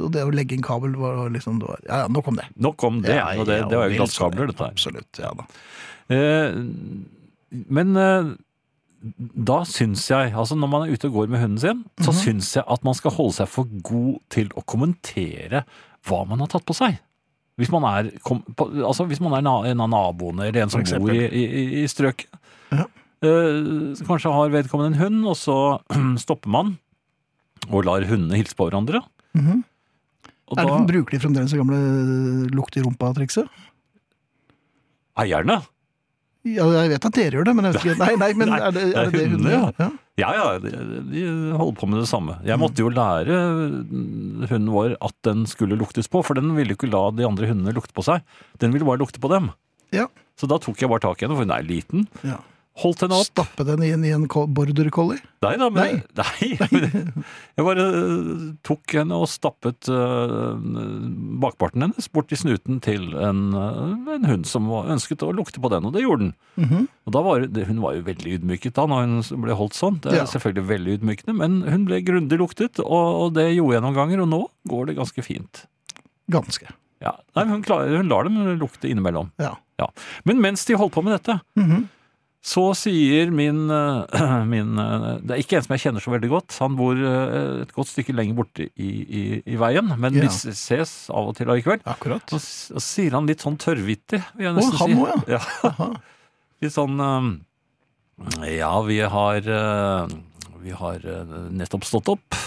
[SPEAKER 2] Og det å legge en kabel var liksom det var, Ja ja, nok om det.
[SPEAKER 3] Nok om det. og det, det var jo glasskabler, dette her.
[SPEAKER 2] Absolutt. ja da.
[SPEAKER 3] Eh, men eh, da syns jeg, altså når man er ute og går med hunden sin, så
[SPEAKER 2] Mhm.
[SPEAKER 3] syns jeg at man skal holde seg for god til å kommentere hva man har tatt på seg. Hvis man er, kom, på, altså hvis man er na, en av naboene eller en som
[SPEAKER 2] For
[SPEAKER 3] bor i, i, i strøket.
[SPEAKER 2] Ja.
[SPEAKER 3] Eh, så kanskje har vedkommende en hund, og så (clears throat) stopper man og lar hundene hilse på hverandre.
[SPEAKER 2] Mhm.
[SPEAKER 3] Og
[SPEAKER 2] Er det,
[SPEAKER 3] da
[SPEAKER 2] bruker de fremdeles det gamle eh, lukt i rumpa-trikset?
[SPEAKER 3] eierne
[SPEAKER 2] Ja, jeg vet at dere gjør det, men jeg vet ikke Nei, nei, men
[SPEAKER 3] (laughs) Nei,
[SPEAKER 2] er det er det,
[SPEAKER 3] det er
[SPEAKER 2] det
[SPEAKER 3] hundene,
[SPEAKER 2] hundene gjør? Ja.
[SPEAKER 3] Ja, ja, de, de holder på med det samme. Jeg måtte jo lære mm, hunden vår at den skulle luktes på, for den ville jo ikke la de andre hundene lukte på seg. Den ville bare lukte på dem.
[SPEAKER 2] Ja.
[SPEAKER 3] Så da tok jeg bare tak i henne, for hun er liten.
[SPEAKER 2] Ja.
[SPEAKER 3] Holdt henne opp.
[SPEAKER 2] Stappe den inn i en ko- border collie?
[SPEAKER 3] Nei da, men, (laughs) nei.
[SPEAKER 2] (laughs)
[SPEAKER 3] men jeg bare øh, tok henne og stappet øh, bakparten hennes bort i snuten til en, øh, en hund som var- ønsket å lukte på den, og det gjorde den.
[SPEAKER 2] Mhm.
[SPEAKER 3] Og da var, det- Hun var jo veldig ydmyket da når hun ble holdt sånn. Det er
[SPEAKER 2] Ja.
[SPEAKER 3] selvfølgelig veldig ydmykende, men hun ble grundig luktet, og, og det gjorde jeg noen ganger, og nå går det ganske fint.
[SPEAKER 2] Ganske.
[SPEAKER 3] Ja. Nei, men hun, klarer, hun lar dem lukte innimellom.
[SPEAKER 2] Ja.
[SPEAKER 3] Men mens de holdt på med dette,
[SPEAKER 2] Mhm.
[SPEAKER 3] så sier min, eh, (clears throat) min eh, Det er ikke en som jeg kjenner så veldig godt. Han bor eh, et godt stykke lenger borte i, i, i veien, men
[SPEAKER 2] Ja.
[SPEAKER 3] vi ses av og til allikevel.
[SPEAKER 2] Akkurat.
[SPEAKER 3] Så, s- så sier han litt sånn tørrvittig, vil jeg
[SPEAKER 2] Å,
[SPEAKER 3] nesten
[SPEAKER 2] han
[SPEAKER 3] si.
[SPEAKER 2] også,
[SPEAKER 3] (laughs) ja.
[SPEAKER 2] Aha.
[SPEAKER 3] Litt sånn eh, Ja, vi har eh, Vi har eh, nettopp stått opp.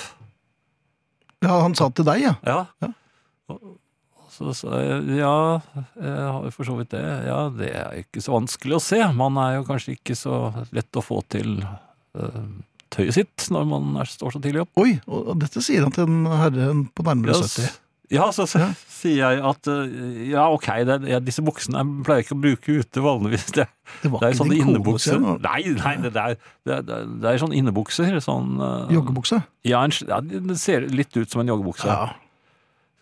[SPEAKER 2] Ja, han sa til deg, ja.
[SPEAKER 3] Ja.
[SPEAKER 2] Ja.
[SPEAKER 3] Og- og Så, så, eh, ja, jeg har jo for så vidt det. Ja, det er ikke så vanskelig å se. Man er jo kanskje ikke så lett å få til eh, tøyet sitt når man er, står så tidlig opp.
[SPEAKER 2] Oi, og og dette sier han til en herre på nærmere
[SPEAKER 3] Ja,
[SPEAKER 2] 70.
[SPEAKER 3] s- Ja, så, så sier jeg at eh, ja, ok, det, er- ja, disse buksene jeg pleier jeg ikke å bruke ute vanligvis. (laughs) Det,
[SPEAKER 2] Det var
[SPEAKER 3] det er
[SPEAKER 2] ikke
[SPEAKER 3] sånn sånne
[SPEAKER 2] din kone,
[SPEAKER 3] innebukser.
[SPEAKER 2] sier han.
[SPEAKER 3] Nei, nei, det er, det er, det er sånne innebukser. Sånn, eh,
[SPEAKER 2] Joggebukse?
[SPEAKER 3] Ja, en, sl- ja, det ser litt ut som en joggebukse.
[SPEAKER 2] Ja.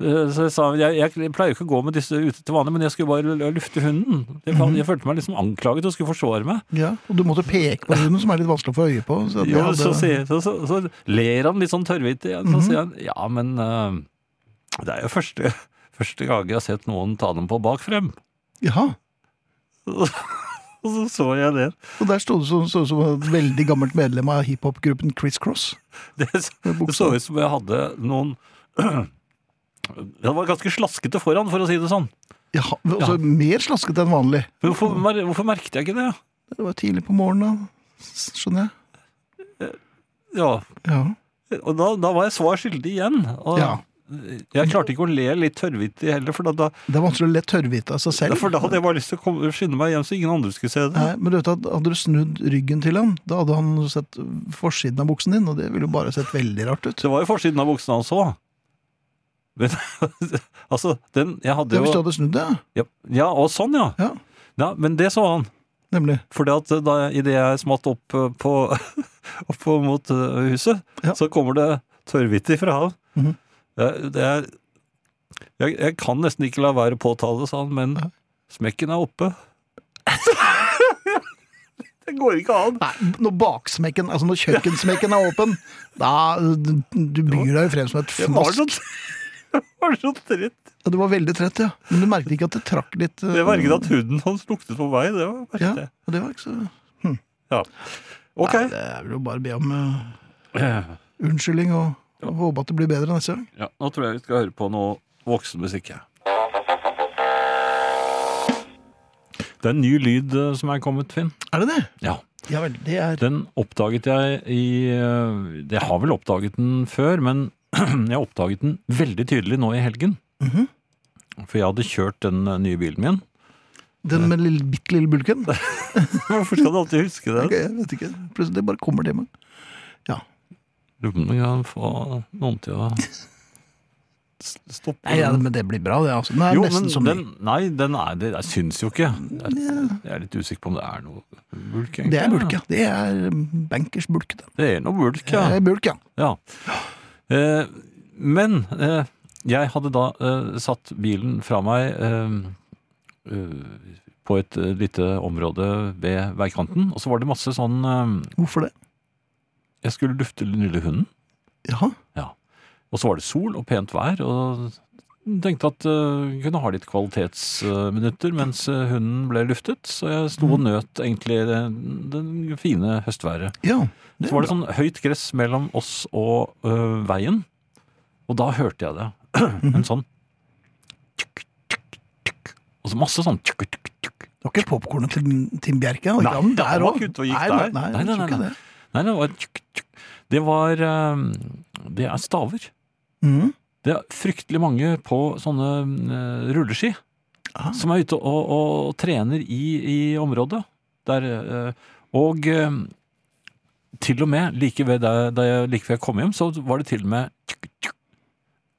[SPEAKER 3] Eh, Så jeg sa jeg, jeg pleier jo ikke å gå med disse ute til vanlig, men jeg skulle bare l- lufte hunden. Jeg, fa- jeg følte meg liksom anklaget og skulle forsvare meg.
[SPEAKER 2] ja. Og du måtte peke på hunden, som er litt vanskelig å få øye på. Så det
[SPEAKER 3] Jo,
[SPEAKER 2] hadde...
[SPEAKER 3] så, sier, så, så, så ler han litt sånn tørrvittig, igjen, så sier han ja, men eh, det er jo første, første gang jeg har sett noen ta dem på bakfrem. (laughs)
[SPEAKER 2] Ja,
[SPEAKER 3] Og så så jeg det.
[SPEAKER 2] og der stod det som- stod det som et veldig gammelt medlem av hiphop-gruppen Criss Cross.
[SPEAKER 3] (laughs) Det, s-
[SPEAKER 2] med
[SPEAKER 3] det
[SPEAKER 2] buksa.
[SPEAKER 3] så ut som jeg hadde noen (clears throat) Det var ganske slaskete foran, for å si det sånn.
[SPEAKER 2] Ja, og så mer slaskete enn vanlig.
[SPEAKER 3] Men Hvorfor, mer- hvorfor merket jeg ikke det?
[SPEAKER 2] Det var tidlig på morgenen, da. Skjønner jeg.
[SPEAKER 3] Ja,
[SPEAKER 2] Ja.
[SPEAKER 3] Og da, da var jeg svar skyldig igjen. Og
[SPEAKER 2] Ja.
[SPEAKER 3] Jeg klarte ikke å le litt tørrvittig heller, for da,
[SPEAKER 2] Det er vanskelig å le tørrhvite av seg
[SPEAKER 3] da,
[SPEAKER 2] selv.
[SPEAKER 3] for da hadde jeg bare lyst til å komme, skynde meg hjem så ingen andre skulle se det.
[SPEAKER 2] Nei, men du vet at Hadde du snudd ryggen til han, da hadde han sett forsiden av buksen din, og det ville jo bare sett veldig rart ut.
[SPEAKER 3] Så det var jo forsiden av buksene hans òg. (laughs) Men altså, den Jeg
[SPEAKER 2] Ja,
[SPEAKER 3] hadde
[SPEAKER 2] hvis du
[SPEAKER 3] jo
[SPEAKER 2] hadde snudd det, ja.
[SPEAKER 3] Ja, ja og sånn, ja.
[SPEAKER 2] Ja.
[SPEAKER 3] Men det så han.
[SPEAKER 2] Nemlig.
[SPEAKER 3] For idet eh, jeg smatt opp eh, på, (laughs) opp mot eh, huset,
[SPEAKER 2] Ja.
[SPEAKER 3] så kommer det tørrvittig fra han.
[SPEAKER 2] Mhm.
[SPEAKER 3] Eh, det er, jeg, jeg kan nesten ikke la være å påtale det, sa han, men
[SPEAKER 2] Nei.
[SPEAKER 3] smekken er oppe. (laughs) det går ikke an.
[SPEAKER 2] Nei, når baksmekken, altså når kjøkkensmekken er åpen, da du byr deg jo frem som et
[SPEAKER 3] (laughs) Det var
[SPEAKER 2] fnask.
[SPEAKER 3] sånn var så trett.
[SPEAKER 2] Ja, Du var veldig trett, ja. Men du merket ikke at det trakk litt? eh,
[SPEAKER 3] Jeg merket at huden hans luktet på meg. Det var
[SPEAKER 2] ja,
[SPEAKER 3] verst, det.
[SPEAKER 2] og det var ikke så
[SPEAKER 3] Ja. Ok.
[SPEAKER 2] Nei, det er vel å bare be om eh, unnskyldning og, og håpe at det blir bedre neste gang.
[SPEAKER 3] Ja, nå tror jeg vi skal høre på noe voksenmusikk. jeg. Det er en ny lyd eh, som er kommet, Finn.
[SPEAKER 2] Er det det?
[SPEAKER 3] Ja.
[SPEAKER 2] Ja vel, det er
[SPEAKER 3] Den oppdaget jeg i eh, Jeg har vel oppdaget den før, men (clears throat) jeg oppdaget den veldig tydelig nå i helgen.
[SPEAKER 2] Mhm.
[SPEAKER 3] For jeg hadde kjørt den eh, nye
[SPEAKER 2] (laughs)
[SPEAKER 3] bilen min.
[SPEAKER 2] den med lille, bitte lille bulken.
[SPEAKER 3] Hvorfor skal du alltid huske det?
[SPEAKER 2] Ok, jeg vet ikke. Plutselig det bare kommer til meg.
[SPEAKER 3] Lurer på om jeg kan få noen til å s- stoppe
[SPEAKER 2] Nei, ja,
[SPEAKER 3] den.
[SPEAKER 2] men det blir bra, det. altså. Den er
[SPEAKER 3] Jo,
[SPEAKER 2] nesten
[SPEAKER 3] men
[SPEAKER 2] som
[SPEAKER 3] den, nei, den er, det, jeg syns jo ikke. Jeg, er- jeg er litt usikker på om det er noe bulk.
[SPEAKER 2] ny. Det er
[SPEAKER 3] egentlig.
[SPEAKER 2] bulk, ja. Det er um, bankers bulk. Det.
[SPEAKER 3] Det er noe bulk, ja.
[SPEAKER 2] det er bulk, ja.
[SPEAKER 3] Ja. Eh, men eh, jeg hadde da eh, satt bilen fra meg eh, eh, på et eh, lite område ved veikanten, og så var det masse sånn eh,
[SPEAKER 2] Hvorfor det?
[SPEAKER 3] Jeg skulle lufte den lille hunden,
[SPEAKER 2] Jaha.
[SPEAKER 3] og så var det sol og pent vær, og tenkte at eh, jeg kunne ha litt kvalitetsminutter mens eh, hunden ble luftet, så jeg sto og nøt egentlig det, det fine høstværet.
[SPEAKER 2] Ja. Mm. Det
[SPEAKER 3] Så var det
[SPEAKER 2] er bra.
[SPEAKER 3] sånn høyt gress mellom oss og øh, veien. Og da hørte jeg det. (clears throat) en sånn tjukk, tjukk, tjukk. Og så masse sånn tjukk, tjukk, tjukk.
[SPEAKER 2] Det var ikke popkornet til Tim Bjerke?
[SPEAKER 3] Nei,
[SPEAKER 2] han
[SPEAKER 3] det
[SPEAKER 2] der
[SPEAKER 3] var
[SPEAKER 2] også.
[SPEAKER 3] ikke ute og gikk
[SPEAKER 2] nei,
[SPEAKER 3] der.
[SPEAKER 2] Nei,
[SPEAKER 3] Nei, nei,
[SPEAKER 2] jeg tror
[SPEAKER 3] nei,
[SPEAKER 2] ikke
[SPEAKER 3] nei.
[SPEAKER 2] det.
[SPEAKER 3] Nei, det var tjukk, tjukk. Det var øh, Det er staver.
[SPEAKER 2] Mhm.
[SPEAKER 3] Det er fryktelig mange på sånne øh, rulleski
[SPEAKER 2] Ah.
[SPEAKER 3] som er ute og, og trener i, i området. Der, øh, og øh, til og med like ved da, da jeg, like før jeg kom hjem, så var det til og med tjukk, tjukk,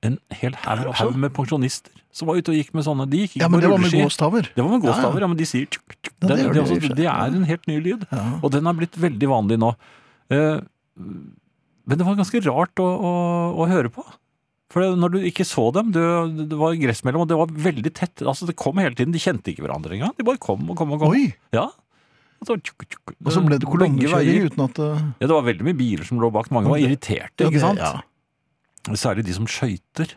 [SPEAKER 3] en hel haug
[SPEAKER 2] Der også?
[SPEAKER 3] haug med pensjonister som var ute og gikk med sånne. De gikk ikke
[SPEAKER 2] Ja, men
[SPEAKER 3] på
[SPEAKER 2] det var med
[SPEAKER 3] rulleski.
[SPEAKER 2] gåstaver.
[SPEAKER 3] det var med
[SPEAKER 2] Ja, ja.
[SPEAKER 3] gåstaver, ja, men de sier tjukk, tjukk.
[SPEAKER 2] Ja,
[SPEAKER 3] Det,
[SPEAKER 2] det
[SPEAKER 3] det,
[SPEAKER 2] gjør de i
[SPEAKER 3] er
[SPEAKER 2] og
[SPEAKER 3] altså-
[SPEAKER 2] for seg.
[SPEAKER 3] det er en helt ny lyd,
[SPEAKER 2] Ja.
[SPEAKER 3] og den har blitt veldig vanlig nå. Eh, Men det var ganske rart å, å, å høre på. For det- når du ikke så dem, du, det var gress mellom, og det var veldig tett. Altså, det kom hele tiden, de kjente ikke hverandre engang. De bare kom og kom og kom.
[SPEAKER 2] Oi!
[SPEAKER 3] Ja. Og så, tjukk, tjukk.
[SPEAKER 2] Og så ble det
[SPEAKER 3] Begge
[SPEAKER 2] kolonnekjøring
[SPEAKER 3] veier.
[SPEAKER 2] uten at uh,
[SPEAKER 3] Ja, det var veldig mye biler som lå bak. Mange var irriterte,
[SPEAKER 2] ja,
[SPEAKER 3] ikke
[SPEAKER 2] det-
[SPEAKER 3] sant?
[SPEAKER 2] Ja,
[SPEAKER 3] Særlig de som skøyter.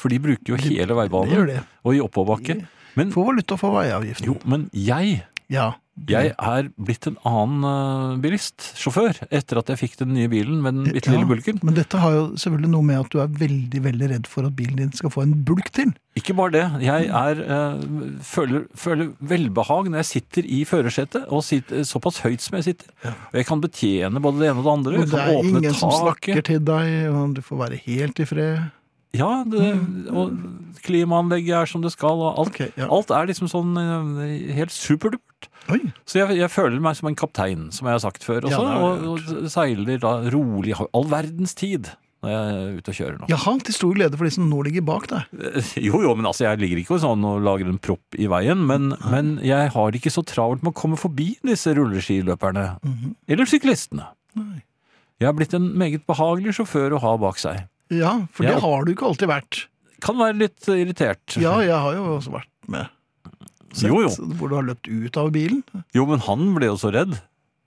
[SPEAKER 3] For de bruker jo hele
[SPEAKER 2] det gjør
[SPEAKER 3] veibanen,
[SPEAKER 2] det.
[SPEAKER 3] og i oppoverbakke. Men,
[SPEAKER 2] Få valuta for veiavgiften.
[SPEAKER 3] jo, men jeg
[SPEAKER 2] Ja.
[SPEAKER 3] Jeg er blitt en annen eh, bilist, sjåfør, etter at jeg fikk den nye bilen med den bitte lille
[SPEAKER 2] Ja.
[SPEAKER 3] bulken.
[SPEAKER 2] Men dette har jo selvfølgelig noe med at du er veldig veldig redd for at bilen din skal få en bulk til.
[SPEAKER 3] Ikke bare det, jeg er, eh, føler, føler velbehag når jeg sitter i førersetet, og sitter såpass høyt som jeg sitter. Og jeg kan betjene både det ene og det andre.
[SPEAKER 2] Og
[SPEAKER 3] Jeg
[SPEAKER 2] det
[SPEAKER 3] kan
[SPEAKER 2] er
[SPEAKER 3] åpne
[SPEAKER 2] ingen som snakker
[SPEAKER 3] taket.
[SPEAKER 2] til deg, og du får være helt i fred.
[SPEAKER 3] Ja, det, og klimaanlegget er som det skal, og
[SPEAKER 2] Mm.
[SPEAKER 3] alt.
[SPEAKER 2] Ok, ja.
[SPEAKER 3] Alt er liksom sånn eh, helt superdupert.
[SPEAKER 2] Oi,
[SPEAKER 3] Så jeg, jeg føler meg som en kaptein, som jeg har sagt før
[SPEAKER 2] Ja,
[SPEAKER 3] også,
[SPEAKER 2] det har jeg
[SPEAKER 3] og, og seiler da rolig i all verdens tid når jeg er ute og kjører nå.
[SPEAKER 2] Jaha, til stor glede for de som nå ligger bak deg.
[SPEAKER 3] (laughs) Jo, jo, men altså, jeg ligger ikke sånn og lager en propp i veien, men,
[SPEAKER 2] Mm-hmm.
[SPEAKER 3] men jeg har det ikke så travelt med å komme forbi disse rulleskiløperne,
[SPEAKER 2] Mm-hmm.
[SPEAKER 3] eller syklistene.
[SPEAKER 2] Nei.
[SPEAKER 3] Jeg har blitt en meget behagelig sjåfør å ha bak seg.
[SPEAKER 2] Ja, for
[SPEAKER 3] Ja.
[SPEAKER 2] det har du ikke alltid vært.
[SPEAKER 3] Kan være litt irritert.
[SPEAKER 2] Ja, jeg har jo også vært med. Sett
[SPEAKER 3] Jo, jo.
[SPEAKER 2] Hvor du har løpt ut av bilen.
[SPEAKER 3] Jo, men han ble jo så redd.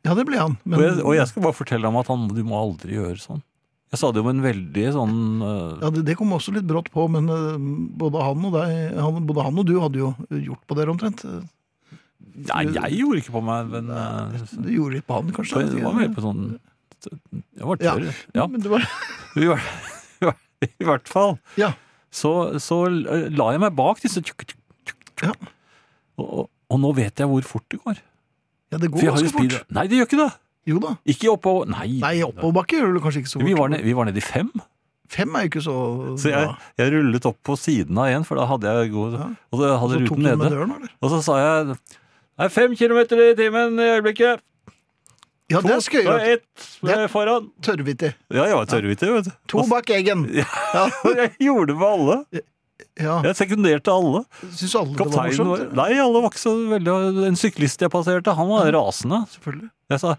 [SPEAKER 2] Ja, det ble han.
[SPEAKER 3] Og
[SPEAKER 2] Men
[SPEAKER 3] jeg, og jeg skal bare fortelle ham at han, du må aldri gjøre sånn. Jeg sa det jo med en veldig sånn øh,
[SPEAKER 2] ja, det, det kom også litt brått på, men eh, både han og deg, han, både han og du hadde jo gjort på dere omtrent.
[SPEAKER 3] eh, Nei, jeg gjorde ikke på meg, men øh, så-
[SPEAKER 2] Du gjorde litt på han, kanskje?
[SPEAKER 3] så jeg var mer på sånn Jeg var
[SPEAKER 2] Ja.
[SPEAKER 3] tørr. Ja.
[SPEAKER 2] Men det var,
[SPEAKER 3] I hvert- (laughs) I hvert fall.
[SPEAKER 2] ja.
[SPEAKER 3] så, så la jeg meg bak disse tjukk, tjukk, tjukk, tjukk.
[SPEAKER 2] Ja.
[SPEAKER 3] Og, og- og nå vet jeg hvor fort det går.
[SPEAKER 2] ja, det
[SPEAKER 3] For
[SPEAKER 2] går
[SPEAKER 3] jeg har jo
[SPEAKER 2] ganske fort.
[SPEAKER 3] speed- Nei, det gjør ikke det!
[SPEAKER 2] Jo da.
[SPEAKER 3] Ikke oppå Nei.
[SPEAKER 2] Nei, oppoverbakke gjør du kanskje ikke så fort.
[SPEAKER 3] vi, var ned, vi var nede i fem,
[SPEAKER 2] Fem er jo ikke så
[SPEAKER 3] så jeg,
[SPEAKER 2] bra.
[SPEAKER 3] jeg rullet opp på siden av en, for da hadde jeg god
[SPEAKER 2] Ja.
[SPEAKER 3] Og så hadde
[SPEAKER 2] Så tok
[SPEAKER 3] ruten
[SPEAKER 2] du med
[SPEAKER 3] nede.
[SPEAKER 2] døren, eller?
[SPEAKER 3] Og så sa jeg Det er fem kilometer i timen i øyeblikket.
[SPEAKER 2] Ja, det er
[SPEAKER 3] To og
[SPEAKER 2] skøyere.
[SPEAKER 3] ett eh, foran.
[SPEAKER 2] Tørrvittig.
[SPEAKER 3] Ja, jeg var tørrvittig, vet du.
[SPEAKER 2] To
[SPEAKER 3] Og-
[SPEAKER 2] bak eggen.
[SPEAKER 3] og (laughs) Jeg gjorde det med alle.
[SPEAKER 2] Ja,
[SPEAKER 3] Jeg sekunderte alle.
[SPEAKER 2] Syns alle det var
[SPEAKER 3] Kapteinen var
[SPEAKER 2] morsomt?
[SPEAKER 3] Nei, alle var ikke så veldig En syklist jeg passerte, han var rasende.
[SPEAKER 2] Selvfølgelig.
[SPEAKER 3] Jeg sa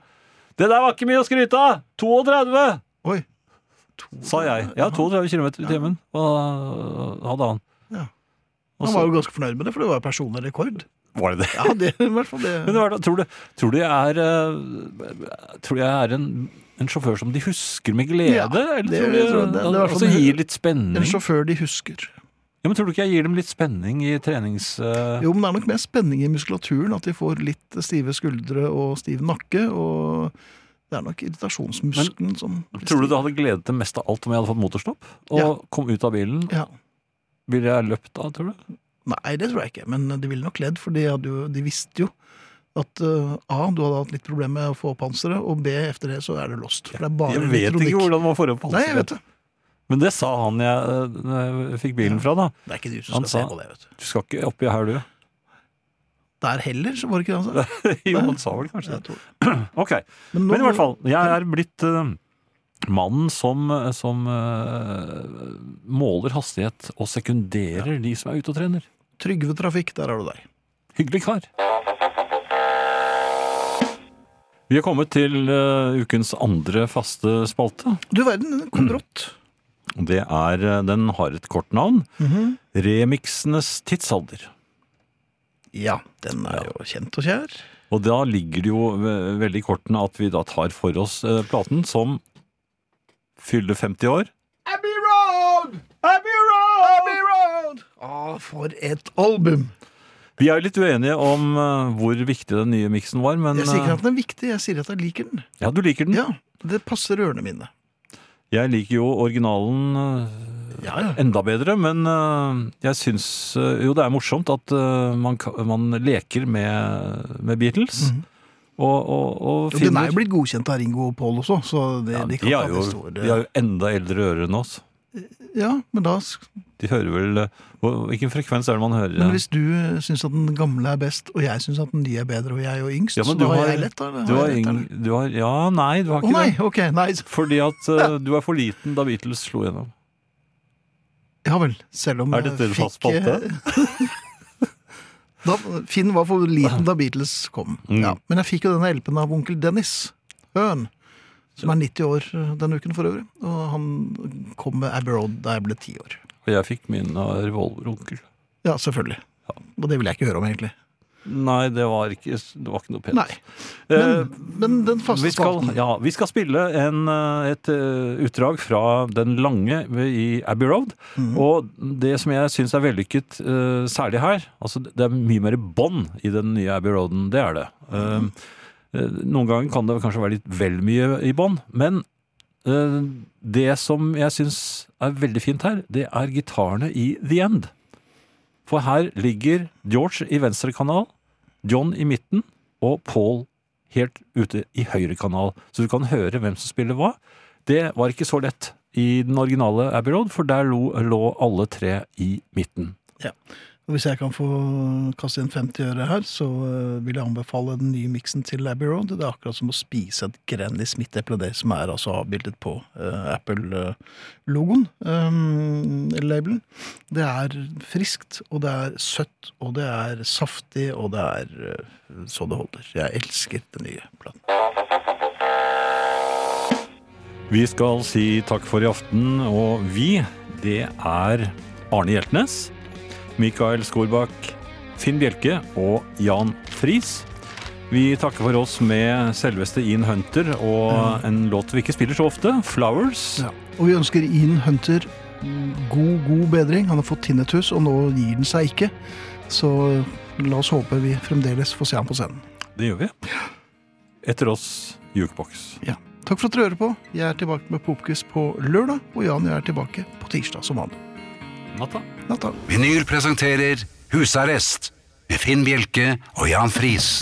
[SPEAKER 3] Det der var ikke mye å skryte av! 32!
[SPEAKER 2] Oi.
[SPEAKER 3] sa jeg. Ja, 32 km i timen og hadde han.
[SPEAKER 2] Ja. Han
[SPEAKER 3] Og så
[SPEAKER 2] var jo ganske fornøyd med det, for det var jo personlig rekord.
[SPEAKER 3] var det (laughs) det.
[SPEAKER 2] Ja, det i hvert fall det.
[SPEAKER 3] Men det var, da- tror, du, tror du jeg er eh, Tror jeg er en en sjåfør som de husker med glede?
[SPEAKER 2] Ja,
[SPEAKER 3] eller
[SPEAKER 2] det-
[SPEAKER 3] tror du-
[SPEAKER 2] jeg tror det- det er i hvert fall
[SPEAKER 3] altså
[SPEAKER 2] en-
[SPEAKER 3] gir litt spenning?
[SPEAKER 2] En sjåfør de husker.
[SPEAKER 3] Ja, men Tror du ikke jeg gir dem litt spenning i trenings... eh,
[SPEAKER 2] Jo, men det er nok mer spenning i muskulaturen, at de får litt stive skuldre og stiv nakke, og det er nok irritasjonsmuskelen som
[SPEAKER 3] tror du det hadde gledet dem mest av alt om jeg hadde fått motorstopp? Og
[SPEAKER 2] Ja.
[SPEAKER 3] kom ut av bilen?
[SPEAKER 2] Ja.
[SPEAKER 3] Ville jeg løpt da, tror du?
[SPEAKER 2] Nei, det tror jeg ikke, men de ville nok ledd, for de, hadde jo, de visste jo at eh, A, du hadde hatt litt problemer med å få opp panseret, og B, etter det så er det lost. For det er bare
[SPEAKER 3] Jeg vet
[SPEAKER 2] elektronikk.
[SPEAKER 3] ikke hvordan man får opp
[SPEAKER 2] Nei, jeg vet
[SPEAKER 3] halsen.
[SPEAKER 2] det.
[SPEAKER 3] Men det sa han jeg, eh, når jeg fikk bilen fra, da.
[SPEAKER 2] Det er ikke du som
[SPEAKER 3] Han
[SPEAKER 2] skal se
[SPEAKER 3] sa-
[SPEAKER 2] på det, vet du.
[SPEAKER 3] Du skal ikke oppi (laughs) her, du.
[SPEAKER 2] Der heller, så var det ikke det han sa.
[SPEAKER 3] jo, han sa vel kanskje
[SPEAKER 2] Jeg
[SPEAKER 3] det.
[SPEAKER 2] tror-
[SPEAKER 3] Ok.
[SPEAKER 2] nå-
[SPEAKER 3] Men i hvert fall, jeg er blitt eh, mannen som, som eh, måler hastighet og sekunderer de som er ute og trener.
[SPEAKER 2] Trygve Trafikk, der er du deg.
[SPEAKER 3] Hyggelig kar. Vi er kommet til eh, ukens andre faste spalte.
[SPEAKER 2] Du verden, den kom brått.
[SPEAKER 3] og Det er, eh, den har et kort navn.
[SPEAKER 2] Mhm.
[SPEAKER 3] Remiksenes tidsalder.
[SPEAKER 2] (clears throat) Ja, den er jo kjent og kjær.
[SPEAKER 3] Og da ligger det jo ve- veldig i kortene at vi da tar for oss eh, platen som fyller 50 år.
[SPEAKER 4] Abbey Road! Abbey Road!
[SPEAKER 2] Ah, for et album!
[SPEAKER 3] Vi er jo litt uenige om eh, hvor viktig den nye miksen var, men
[SPEAKER 2] Jeg sier ikke
[SPEAKER 3] eh, Mm.
[SPEAKER 2] at den er viktig, jeg sier at jeg liker den.
[SPEAKER 3] ja, du liker den.
[SPEAKER 2] Ja, Det passer ørene mine.
[SPEAKER 3] Jeg liker jo originalen
[SPEAKER 2] Ja,
[SPEAKER 3] eh, enda bedre, men eh, jeg syns eh, jo det er morsomt at eh, man, ka- man leker med, med Beatles. Og, og,
[SPEAKER 2] Mhm.
[SPEAKER 3] og
[SPEAKER 2] Den er
[SPEAKER 3] finner
[SPEAKER 2] jo blitt godkjent av Ringo og Paul også, så det,
[SPEAKER 3] ja,
[SPEAKER 2] de
[SPEAKER 3] de,
[SPEAKER 2] kan ta
[SPEAKER 3] har jo,
[SPEAKER 2] det store
[SPEAKER 3] de har jo enda eldre ører enn oss.
[SPEAKER 2] Ja, men da sk-
[SPEAKER 3] De hører vel eh, hvor- Hvilken frekvens er det man hører?
[SPEAKER 2] Men hvis du syns at den gamle er best, og jeg syns at den nye er bedre, og jeg er jo yngst,
[SPEAKER 3] Ja,
[SPEAKER 2] så
[SPEAKER 3] men
[SPEAKER 2] da
[SPEAKER 3] du
[SPEAKER 2] har
[SPEAKER 3] har-
[SPEAKER 2] jeg lett, da. eller?
[SPEAKER 3] du
[SPEAKER 2] Har
[SPEAKER 3] har,
[SPEAKER 2] jeg rett,
[SPEAKER 3] ing,
[SPEAKER 2] eller?
[SPEAKER 3] du har Ja, nei, du
[SPEAKER 2] Å
[SPEAKER 3] har ikke
[SPEAKER 2] nei,
[SPEAKER 3] det.
[SPEAKER 2] ok, nei. s-
[SPEAKER 3] Fordi at eh, du er for liten da Beatles slo gjennom.
[SPEAKER 2] Ja vel. Selv om
[SPEAKER 3] Er dette
[SPEAKER 2] jeg
[SPEAKER 3] en fast
[SPEAKER 2] fikk, eh, (laughs) da, Finn var for liten da Beatles kom.
[SPEAKER 3] Mm.
[SPEAKER 2] Ja, men jeg fikk jo denne LP-en av onkel Dennis Høen, som er 90 år eh, denne uken for øvrig. Og han kom med Abbey Road da jeg ble 10 år.
[SPEAKER 3] Og jeg fikk min av revolveronkel.
[SPEAKER 2] Ja, selvfølgelig. Og det vil jeg ikke høre om, egentlig.
[SPEAKER 3] Nei, det var ikke, det var ikke noe pent.
[SPEAKER 2] Nei. Men, men den
[SPEAKER 3] Eh, vi
[SPEAKER 2] faste
[SPEAKER 3] skal,
[SPEAKER 2] spalten
[SPEAKER 3] ja, vi skal spille en, eh, et eh, utdrag fra Den lange ved- i Abbey Road.
[SPEAKER 2] Mhm.
[SPEAKER 3] Og det som jeg syns er vellykket, eh, særlig her altså Det er mye mer bånd i den nye Abbey Roaden, det er det.
[SPEAKER 2] Mhm.
[SPEAKER 3] Eh, eh, Noen ganger kan det kanskje være litt vel mye i bånd, men eh, det som jeg syns er veldig fint her, det er gitarene i The End. For her ligger George i venstre kanal, John i midten og Paul helt ute i høyre kanal. Så du kan høre hvem som spiller hva. Det var ikke så lett i den originale Abbey Road, for der lo, lå alle tre i midten.
[SPEAKER 2] Og Hvis jeg kan få kaste inn 50 øre her, så eh, vil jeg anbefale den nye miksen til Abbey Road. Det er akkurat som å spise et Granny Smith-eple, det som er altså avbildet på eh, Apple-logoen. eh, labelen. Det er friskt, og det er søtt, og det er saftig, og det er eh, så det holder. Jeg elsker den nye platen.
[SPEAKER 3] Vi skal si takk for i aften, og vi, det er Arne Hjeltnes, Mikael Skorbakk, Finn Bjelke og Jan Friis. Vi takker for oss med selveste Ian Hunter og en låt vi ikke spiller så ofte, 'Flowers'.
[SPEAKER 2] Og vi ønsker Ian Hunter god, god bedring. Han har fått tinnitus, og nå gir den seg ikke. Så la oss håpe vi fremdeles får se ham på scenen.
[SPEAKER 3] Det gjør vi. Etter oss Jukebox.
[SPEAKER 2] Ja. Takk for at dere hører på. Jeg er tilbake med Popquiz på lørdag, og Jan og jeg er tilbake på tirsdag som vanlig.
[SPEAKER 3] Natta.
[SPEAKER 2] Natta.
[SPEAKER 1] Vinyl presenterer Husarrest med Finn Bjelke og Jan Friis.